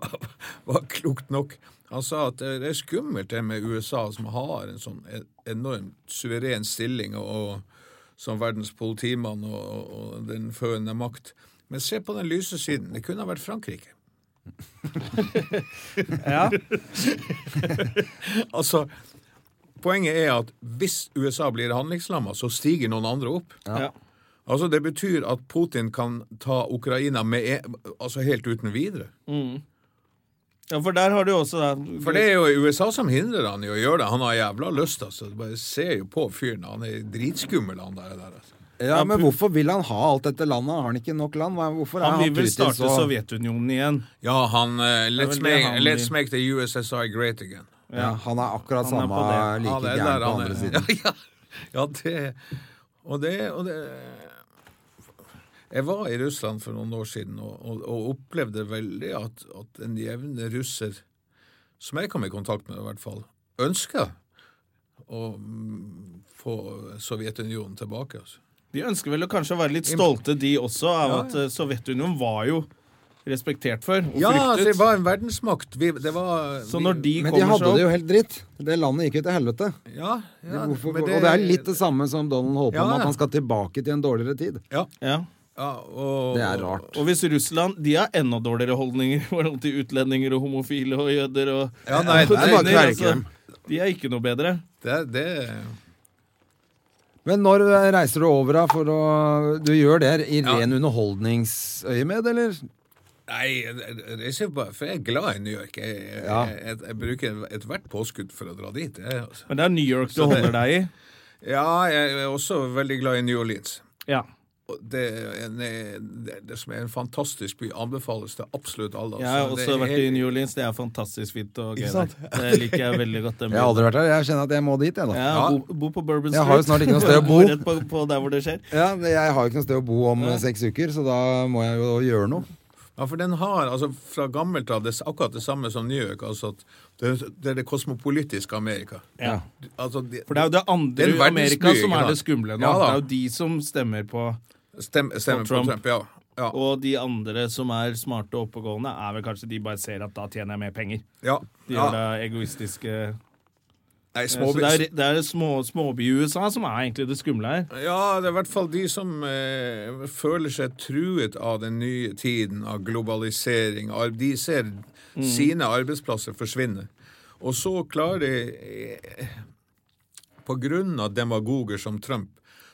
S3: var klokt nok. Han sa at eh, det er skummelt det med USA, som har en sånn enormt suveren stilling og, og som verdens politimann og, og, og den førende makt. Men se på den lyse siden. Det kunne ha vært Frankrike.
S2: Ja.
S3: Altså, poenget er at hvis USA blir handlingslamma, så stiger noen andre opp.
S1: Ja.
S3: Altså, Det betyr at Putin kan ta Ukraina med e altså helt uten videre.
S1: ja, for der har du jo også da,
S3: For det er jo USA som hindrer han i å gjøre det. Han har jævla lyst, altså. Du bare ser jo på fyren. Han er dritskummel, han der. der altså.
S2: ja, men hvorfor vil han ha alt dette landet? Har han ikke nok land? Hva- Hvorfor er
S1: Han vil vel
S2: Putin
S1: starte
S2: så-
S1: Sovjetunionen igjen.
S3: Ja, han eh, let's,
S1: det
S3: make,
S1: han-
S3: let's make the USSR great again.
S2: Ja, han er akkurat
S1: Han er
S2: samme
S1: på det.
S2: like
S3: det er
S2: gæren
S3: der
S2: på
S3: han er.
S2: andre siden.
S3: Ja, ja. ja det, og det Og det Jeg var i Russland for noen år siden og, og, og opplevde veldig at, at en jevne russer, som jeg kom i kontakt med i hvert fall, ønsker å mm, få Sovjetunionen tilbake. altså.
S1: De ønsker vel å kanskje være litt stolte, de også, av at eh, Sovjetunionen var jo respektert før og
S3: Ja, altså,
S1: fryktet.
S3: det var en verdensmakt. Vi, det var
S1: Så når de
S2: Men de
S1: kommer
S2: hadde
S1: seg
S2: det
S1: opp
S2: jo helt dritt. Det landet gikk jo til helvete.
S3: Ja, ja
S2: Hvorfor,
S3: men
S2: og det er litt det samme som Donald holder på
S3: Ja,
S2: med,
S3: ja.
S2: at han skal tilbake til en dårligere tid.
S3: Ja,
S1: ja.
S3: ja og,
S2: Det er rart.
S1: Og hvis Russland De har enda dårligere holdninger i forhold til utlendinger og homofile og jøder og
S3: Ja, nei,
S1: og
S3: nei,
S1: kvinner,
S2: nei,
S1: altså.
S2: nei.
S1: De er ikke noe bedre.
S3: Det, det
S2: Men når eh, reiser du over da for å Du gjør det i
S3: Ja.
S2: ren underholdningsøyemed, eller?
S3: Nei, jeg reiser bare For jeg er glad i New York. Jeg, jeg,
S2: Ja.
S3: jeg, jeg bruker ethvert påskudd for å dra dit. Jeg, altså.
S1: Men det er New York du
S3: Så det-
S1: holder deg i.
S3: Ja, jeg er også veldig glad i New Orleans.
S1: Ja.
S3: Og Det, er en, det, det som er en fantastisk by, anbefales til absolutt alle.
S1: Jeg har
S3: altså. Det
S1: også
S3: er
S1: vært i
S3: helt-
S1: New Orleans. Det er fantastisk fint og gøy
S3: Ikke
S1: der.
S3: sant?
S1: Det liker jeg veldig godt. den
S2: Jeg har
S1: byen.
S2: aldri vært der. Jeg kjenner at jeg må dit, jeg, da.
S1: Ja,
S3: Ja.
S1: bo, bo på Bourbon Street.
S2: Jeg har jo snart ikke noe sted å bo.
S1: Rett på, på der hvor det skjer.
S2: Ja, men jeg har jo ikke noe sted å bo om eh, seks uker, så da må jeg jo gjøre noe.
S3: Ja, for den har altså fra gammelt av det, akkurat det samme som New York. altså at Det, det er det kosmopolitiske Amerika.
S1: Ja.
S3: Altså, det,
S1: For det er jo det andre
S3: Det er en verdensby,
S1: Amerika som
S3: ikke
S1: er
S3: sant?
S1: det skumle nå.
S3: Ja, da.
S1: det er jo de som stemmer på
S3: Stem, stemmer
S1: Og
S3: på
S1: Trump.
S3: Trump, ja. Ja,
S1: Og de andre som er smarte og oppegående, er vel kanskje de bare ser at da tjener jeg mer penger.
S3: ja,
S1: De
S3: ja.
S1: gjør det egoistiske
S3: Nei,
S1: Så
S3: små,
S1: det er, det er små, småby-USA som er egentlig det skumle her.
S3: Ja, det er i hvert fall de som eh, føler seg truet av den nye tiden, av globalisering. Ar- De ser sine arbeidsplasser forsvinne. Og så klarer de eh, På grunn av demagoger som Trump,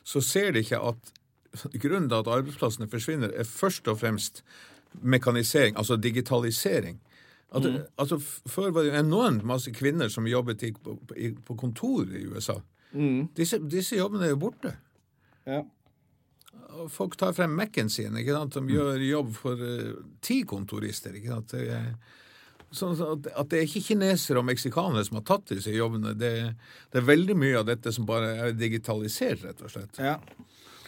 S3: så ser de ikke at grunnen til at arbeidsplassene forsvinner, er først og fremst mekanisering, altså digitalisering. At, altså, f- før var det jo enormt masse kvinner som jobbet i, på, i, på kontor i USA. Disse, disse jobbene er jo borte. Og Folk tar frem Mac-en sin, ikke
S2: Mm.
S3: sant? som gjør jobb for eh, ti kontorister. ikke sant? Det er- Sånn så at, at det er ikke kinesere og meksikanere som har tatt disse jobbene. Det, det er veldig mye av dette som bare er digitalisert, rett og slett.
S1: Ja.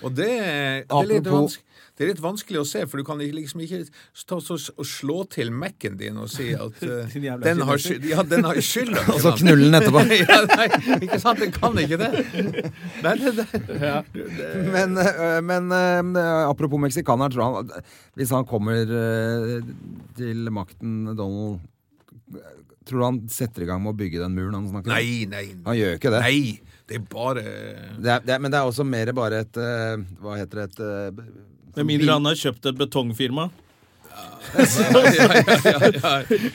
S3: Og det, er- det, er litt
S2: Apropos-
S3: vanske- det er litt vanskelig å se, for du kan liksom ikke stå så, og slå til Mac-en din og si at eh,
S1: Din jævla
S3: den, har
S1: kineser.
S3: skyld, ja, den har skylda. ikke
S2: Og så
S3: sant?
S2: knulle den etterpå.
S3: ja, nei, ikke sant? Den kan ikke det. Nei, det, det.
S2: Men, eh, men eh, apropos meksikaner, tror han Hvis han kommer eh, til makten, Donald Tror du han setter i gang med å bygge den muren han snakker om?
S3: Nei, nei.
S2: Han gjør jo ikke det.
S3: Nei, det er bare
S2: Det er, det er, men det er også mer bare et eh, Hva heter det? Et, eh, b-
S1: Med mindre han har kjøpt et betongfirma.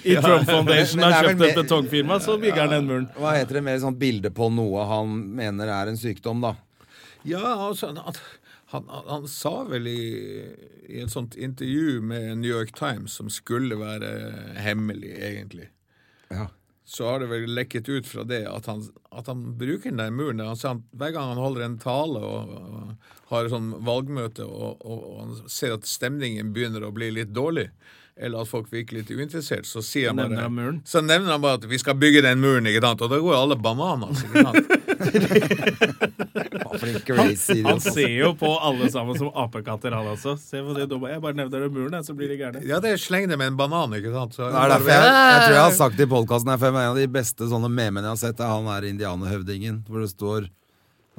S1: I Trump Foundation
S2: Men det er
S1: har
S2: vel
S1: kjøpt et
S2: mer-
S1: betongfirma, så bygger han den muren.
S2: hva heter det? Mer sånn bilde på noe han mener er en sykdom, da.
S3: Ja, altså, han, han, han, han sa vel i, i et sånt intervju med New York Times, som skulle være hemmelig, egentlig,
S2: Ja.
S3: så har det vel lekket ut fra det at han, at han bruker den der muren. Han, sa han, hver gang han holder en tale og, og har et sånn valgmøte og, og, og han ser at stemningen begynner å bli litt dårlig, eller at folk virker litt uinteressert, så sier han
S1: Nevner
S3: bare
S1: han muren?
S3: Så nevner han bare at vi skal bygge den muren, ikke sant? Og da går alle bananas, ikke sant?
S2: Faen, for en crazy
S1: Han
S2: idiot.
S1: ser jo på alle sammen som apekatter, han også. Se på det dumme. Jeg bare nevner den muren, jeg, så blir de gærne.
S3: Ja, det er sleng det med en banan, ikke sant? Så,
S2: Det er derfor jeg, jeg tror jeg har sagt det i podkasten her før, men en av de beste sånne memene jeg har sett, er han der indianerhøvdingen, hvor det står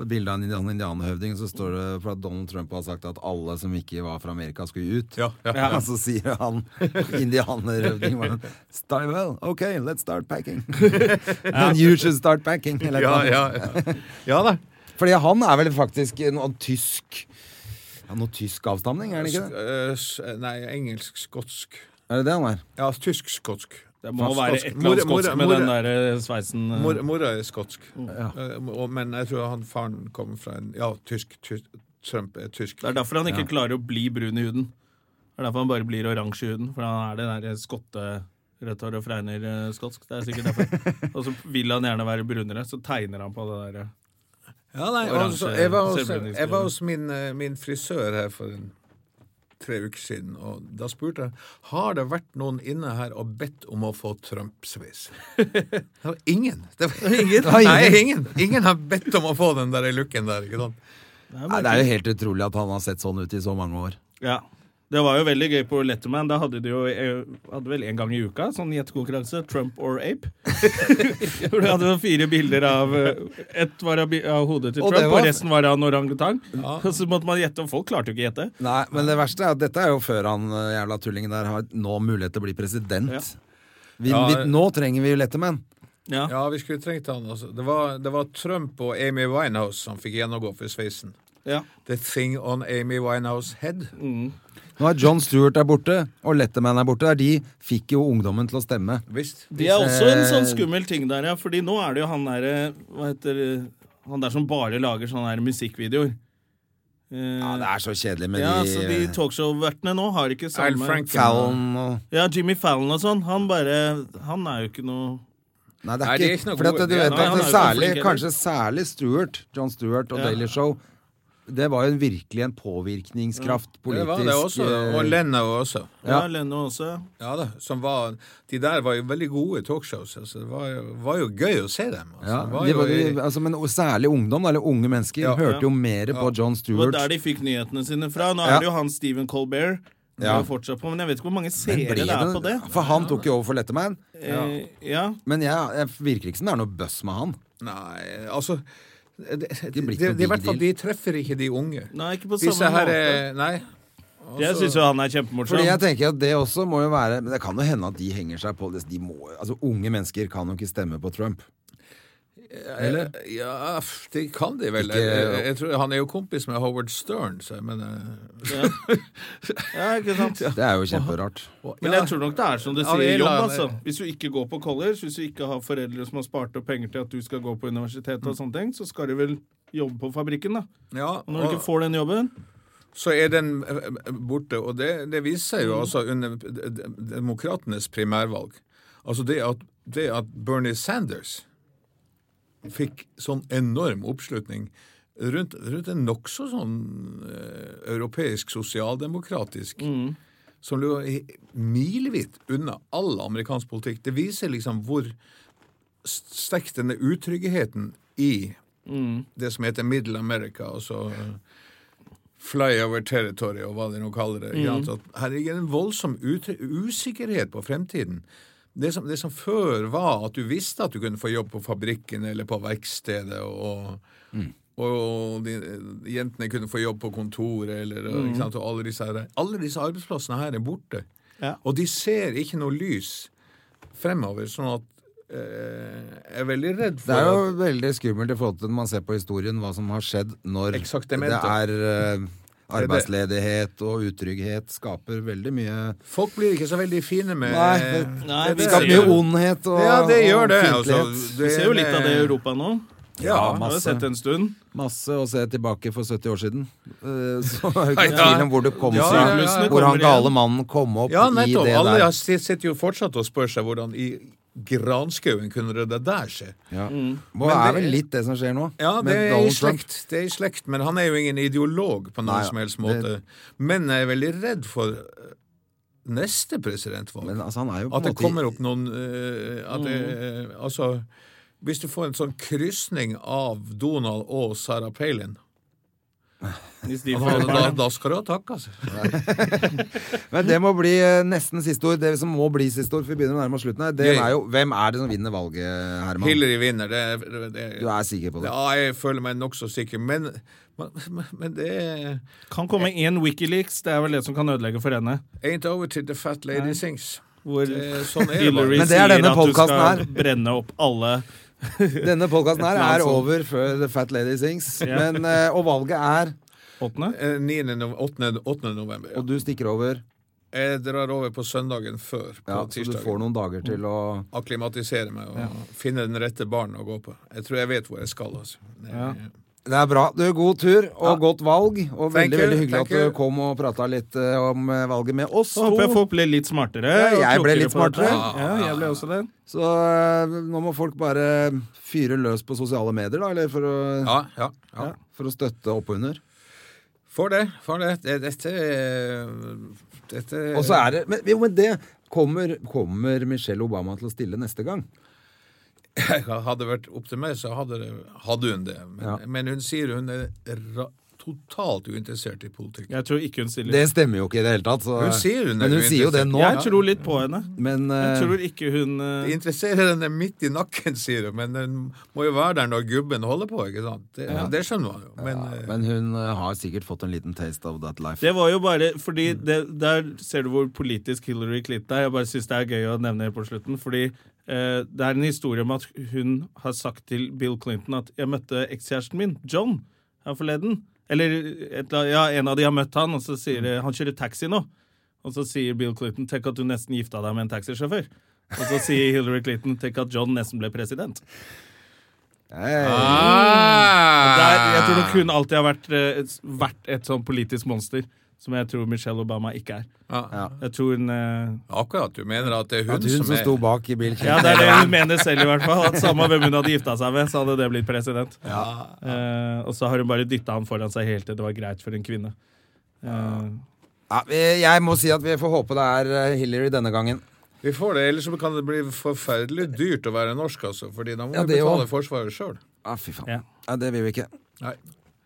S2: det er et bilde av en indian- indianerhøvding, så står det for at Donald Trump har sagt at alle som ikke var fra Amerika, skulle ut.
S3: Ja, ja.
S2: Og så sier han indianerhøvdingen bare «Start- well, OK, let's start packing. Then you should start packing. Eller
S3: Ja,
S2: noe.
S3: ja, ja. ja da.
S2: Fordi han er vel faktisk noe tysk ja, Noe tysk avstamning, er det ikke det?
S3: Eh, s- Nei, engelsk-skotsk.
S2: Er det det han er?
S3: Ja, tysk-skotsk.
S1: Det må være et eller annet
S3: Skotsk. Mor-
S1: skotsk
S3: mor-
S1: med den der eh, sveisen. eh.
S2: Mm.
S3: Mor, mora er skotsk, Eh, og- men jeg tror han faren kommer fra en Ja, tysk. tysk Trump er tysk.
S1: Det er derfor han ikke klarer å bli brun i huden. Det er derfor han bare blir oransje i huden, for han er det der eh, skotte rødt hår og fregner eh, skotsk. Det er sikkert derfor. Og så vil han gjerne være brunere, så tegner han på det der. eh.
S3: Ja, nei,
S1: Oransje
S3: altså, jeg, var hos,
S1: selvbrenningskrem.
S3: jeg var hos min, eh, min frisør her for en, tre uker siden, og da spurte jeg har det vært noen inne her og bedt om å få Trump-sveis. Det var ingen. Det var ingen. Nei, ingen. Ingen har bedt om å få den der looken der. ikke sant?
S2: Nei, det er jo helt utrolig at han har sett sånn ut i så mange år.
S1: Ja. Det var jo veldig gøy på Letterman. Da hadde de jo eh, hadde vel en gang i uka sånn gjettekonkurranse. Trump or ape. Hvor du hadde fire bilder av eh, Ett var av, bi- av hodet til
S2: Og det
S1: Trump,
S2: var-
S1: og resten var av en orangutang. Og så måtte man gjette, og folk klarte jo ikke å gjette.
S2: Nei, men det verste er at dette er jo før han eh, jævla tullingen der har nå mulighet til å bli president.
S1: Ja.
S2: Vi,
S3: Ja,
S2: vi,
S3: eh.
S2: nå trenger vi jo Letterman.
S1: Ja.
S3: Ja, vi skulle trengt han. altså. Det var, det var Trump og Amy Winehouse som fikk gjennomgå for sveisen.
S1: Ja.
S3: The thing on Amy Winehouse head.
S2: Nå er John Stewart er borte, og Letterman er borte. Der de fikk jo ungdommen til å stemme.
S3: Visst.
S1: Det er også en sånn skummel ting der, ja. Fordi nå er det jo han der eh, Hva heter eh, Han der som bare lager sånne her musikkvideoer. Eh,
S2: Ja, Det er så kjedelig med
S1: Ja,
S2: de, eh,
S1: så de talkshow-vertene nå har ikke
S3: Al
S1: samme
S3: Franken.
S2: Fallon og
S1: Ja, Jimmy Fallon og sånn. Han bare Han er jo ikke noe
S2: Nei, det er
S3: Nei, de er
S2: ikke,
S3: ikke noe
S2: for at
S3: gode.
S2: du vet at
S1: Nei, han
S2: det
S1: er jo ikke
S2: særlig,
S1: flink heller.
S2: Kanskje særlig Stewart, John Stewart og
S1: Ja.
S2: Daily Show. Det var jo virkelig en påvirkningskraft
S3: Det
S2: politisk.
S3: var det også.
S2: eh,
S3: Og Leno også.
S1: Ja,
S2: Ja.
S1: Leno også.
S3: Ja da, som var, De der var jo veldig gode talkshows. Altså. Det var jo, var jo gøy å se dem. Altså.
S2: ja,
S3: Det var
S2: de,
S3: jo,
S2: de, altså, men særlig ungdom, eller unge mennesker,
S3: Ja.
S2: hørte jo mer på John
S1: Det var
S2: Stewart.
S1: der de fikk nyhetene sine fra. Nå
S2: Ja.
S1: er det jo han Stephen Colbert. Det
S2: Ja.
S1: er jo fortsatt på, men jeg vet ikke hvor mange
S2: Men ble
S1: seere det er på det.
S2: For han tok jo over for Letterman.
S1: Eh, ja.
S2: Men jeg, jeg virker ikke som det er noe bøss med han.
S3: Nei, altså det, det,
S2: De blir ikke
S3: det-
S2: noe
S3: I
S2: big
S3: hvert fall, de
S2: deal.
S3: treffer ikke de unge.
S1: Nei, ikke på
S3: Disse
S1: samme
S3: her
S1: måte.
S3: er- Nei.
S1: Jeg syns jo han er
S2: Fordi jeg
S1: kjempemorsom.
S2: tenker at det også må jo være Men det kan jo hende at de henger seg på det. De må, altså Unge mennesker kan jo ikke stemme på Trump. Eller?
S3: Ja, f- det kan de vel.
S2: Ikke-
S3: jeg, jeg tror, han er jo kompis med Howard Stern, så jeg mener
S1: Ja, ikke sant?
S2: Det er jo kjemperart.
S3: og-
S1: Men
S3: ja,
S1: jeg tror nok det er som du
S3: Ja,
S1: sier,
S3: vi
S1: jobb,
S3: la-
S1: altså. Hvis du ikke går på college, hvis du ikke har foreldre som har spart opp penger til at du skal gå på universitetet
S2: Mm.
S1: og sånne ting, så skal du vel jobbe på fabrikken, da.
S3: ja,
S1: Og når du
S3: og-
S1: ikke får den jobben
S3: så er den eh, borte. Og det, det viser jo altså under de- de- demokratenes primærvalg. Altså det at, det at Bernie Sanders fikk sånn enorm oppslutning rundt, rundt en nokså sånn eh, europeisk sosialdemokratisk som lå i- milevidt unna all amerikansk politikk. Det viser liksom hvor st- sterk denne utryggheten i det som heter Middle America, altså flyover territory og hva de nå kaller det.
S2: Mm.
S3: ikke sant? At Her ligger en voldsom ut- usikkerhet på fremtiden. Det som, det som før var at du visste at du kunne få jobb på fabrikken eller på verkstedet, og,
S2: Mm.
S3: og de, jentene kunne få jobb på kontoret, eller,
S2: Mm.
S3: ikke sant? og alle disse, her- alle disse arbeidsplassene her er borte.
S1: Ja.
S3: Og de ser ikke noe lys fremover, sånn at eh, jeg er veldig redd for
S2: Det er jo
S3: at
S2: veldig skummelt i forhold til når man ser på historien hva som har skjedd når
S3: Eksaktemente.
S2: det er eh, arbeidsledighet og utrygghet skaper veldig mye
S3: folk blir ikke så veldig fine med
S2: Nei, det-
S1: Nei,
S3: det-
S1: vi
S3: det-
S1: ser
S2: Skaper mye ondhet og
S3: Ja, det gjør det.
S2: og
S3: Altså,
S2: fiendtlighet.
S1: Vi ser jo litt av det i
S3: er-
S1: Europa nå.
S2: Ja,
S1: Vi har jo
S2: Eh, masse.
S1: sett det en stund.
S2: Masse å se tilbake for 70 år siden. Eh, Så er det
S3: Nei,
S2: ikke
S3: ja.
S2: tvil om hvor det kom
S3: Ja,
S2: fra.
S3: ja, ja, ja.
S2: Hvor han
S1: Kommer
S2: gale
S1: igjen.
S2: mannen kom opp
S3: Ja,
S2: i
S3: nettopp.
S2: det
S3: Alle
S2: der.
S3: har sit- sitter jo fortsatt og spør seg hvordan i granskauen kunne det der skje.
S2: Ja.
S1: Mm.
S2: Og det er vel litt det som skjer nå.
S3: Ja,
S2: med
S3: det er, i
S2: Donald Trump.
S3: slekt, det er i slekt, men han er jo ingen ideolog på noen
S2: Nei,
S3: som helst
S2: det-
S3: måte. Men jeg er veldig redd for eh, neste presidentvalg.
S2: Men altså, han er jo på
S3: At
S2: en
S3: det
S2: måte Mm.
S3: kommer opp noen eh, at det, eh, Altså, hvis du får en sånn krysning av Donald og Sarah Palin,
S1: Hvis de
S3: da,
S1: får
S3: da,
S1: barn.
S3: da skal du ha takk, altså.
S2: Men det må bli eh, nesten siste ord. Det som må bli siste ord, for vi begynner å nærme oss slutten her, det
S3: Ja, ja.
S2: er jo hvem er det som vinner valget, Herman?
S3: Hillary vinner. Det, det, det,
S2: Du er sikker på det?
S3: Ja, jeg føler meg nokså sikker, men, men, men det er
S1: Kan komme én Wikileaks, det er vel det som kan ødelegge for henne.
S3: Ain't over till the fat lady sings.
S1: Hvor
S3: Det- sånn er det bare.
S1: Hillary
S2: Men det er
S1: sier
S2: denne
S1: at du skal
S2: podcasten her.
S1: brenne opp alle
S2: Denne podkasten her
S1: eller annet
S2: er
S1: sånt.
S2: over før The Fat Lady Sings.
S1: Ja.
S2: Men, eh, og valget er
S1: åttende.
S3: Eh, 9. No 8. 8. november. Ja.
S2: Og du stikker over.
S3: Jeg drar over på søndagen før, på Mm.
S2: Ja, så du
S3: tirsdagen.
S2: får noen dager til å
S3: Akklimatisere meg og finne den rette barn å gå på. Jeg tror jeg vet hvor jeg skal, altså. Det-
S1: Ja.
S2: Det er bra. Du, god tur og godt valg. Og veldig
S3: Thank you,
S2: veldig hyggelig
S3: thank
S2: at du
S3: you.
S2: kom og prata litt eh, om eh, valget med oss
S1: Så håper jeg
S2: to.
S1: folk ble litt smartere.
S2: Ja,
S1: og
S2: jeg ble
S1: klokere
S2: litt
S1: på dette.
S2: smartere.
S1: Ja, jeg ble også det.
S2: Så eh, nå må folk bare fyre løs på sosiale medier, da, eller for å,
S3: Ja, ja, ja.
S2: for å støtte oppunder.
S3: For det. For det. Det- Dette eh, Dette
S2: Og så er det Men, jo, men det kommer, kommer Michelle Obama til å stille neste gang?
S3: Hadde det vært opp til meg, så hadde, det, hadde hun det. Men,
S2: Ja.
S3: men hun sier hun er ra totalt uinteressert i politikk.
S1: Jeg tror ikke hun stiller.
S2: Det stemmer jo ikke i det hele tatt. Så,
S3: Hun sier hun er
S2: men hun sier jo det nå.
S1: Jeg tror litt på henne.
S2: Men
S1: Jeg
S2: eh,
S1: tror ikke hun eh,
S3: Det interesserer henne midt i nakken, sier hun, men den må jo være der når gubben holder på, ikke sant? Det, det skjønner man jo. Men, eh,
S2: Men hun eh, har sikkert fått en liten taste of that life.
S1: Det var jo bare fordi det, Der ser du hvor politisk Hillary Clinton er. Jeg bare syns det er gøy å nevne det på slutten. Fordi eh, det er en historie om at hun har sagt til Bill Clinton at 'jeg møtte ekskjæresten min, John, her forleden'. Eller et, eller annet- ja, en av de har møtt han, og så sier de 'han kjører taxi nå'. Og så sier Bill Clinton 'tenk at du nesten gifta deg med en taxisjåfør'. Og så sier Hillary Clinton 'tenk at John nesten ble president'.
S2: Hey.
S3: eh,
S1: Der, jeg tror nok hun alltid har vært, eh, et- vært et sånn politisk monster, som jeg tror Michelle Obama ikke er.
S3: ja,
S1: Jeg tror hun eh,
S3: akkurat. Du mener at det er hun,
S2: At hun
S3: som
S2: som
S3: er
S2: sto bak i Bill
S1: Ja,
S2: Clinton.
S1: det er det hun mener selv, i hvert fall. At Samme hvem hun hadde gifta seg med, så hadde det blitt president. Eh, og så har hun bare dytta han foran seg helt til det var greit for en kvinne. Eh,
S2: Ja, vi- jeg må si at vi får håpe det er eh, Hillary denne gangen.
S3: Vi får det, ellers så kan det bli forferdelig dyrt å være norsk, altså. Fordi da må
S2: Ja,
S3: vi
S2: det
S3: betale
S2: også.
S3: Forsvaret sjøl.
S2: Ja, Ah, fy faen.
S1: Ja.
S2: Ja, det vil vi ikke.
S3: Nei.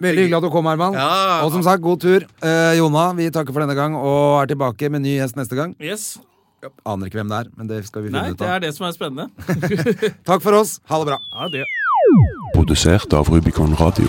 S2: Veldig hyggelig at du kom, Herman.
S3: Ja.
S2: Og som sagt, god tur. Eh, Jonna, vi takker for denne gang og er tilbake med ny gjest neste gang.
S1: yes.
S2: Aner ikke hvem det er, men det skal vi finne
S1: Nei,
S2: ut
S1: det
S2: av.
S1: er det som er spennende.
S2: Takk for oss. Ha det bra.
S1: Ja, det.
S4: Produsert av Rubicon Radio.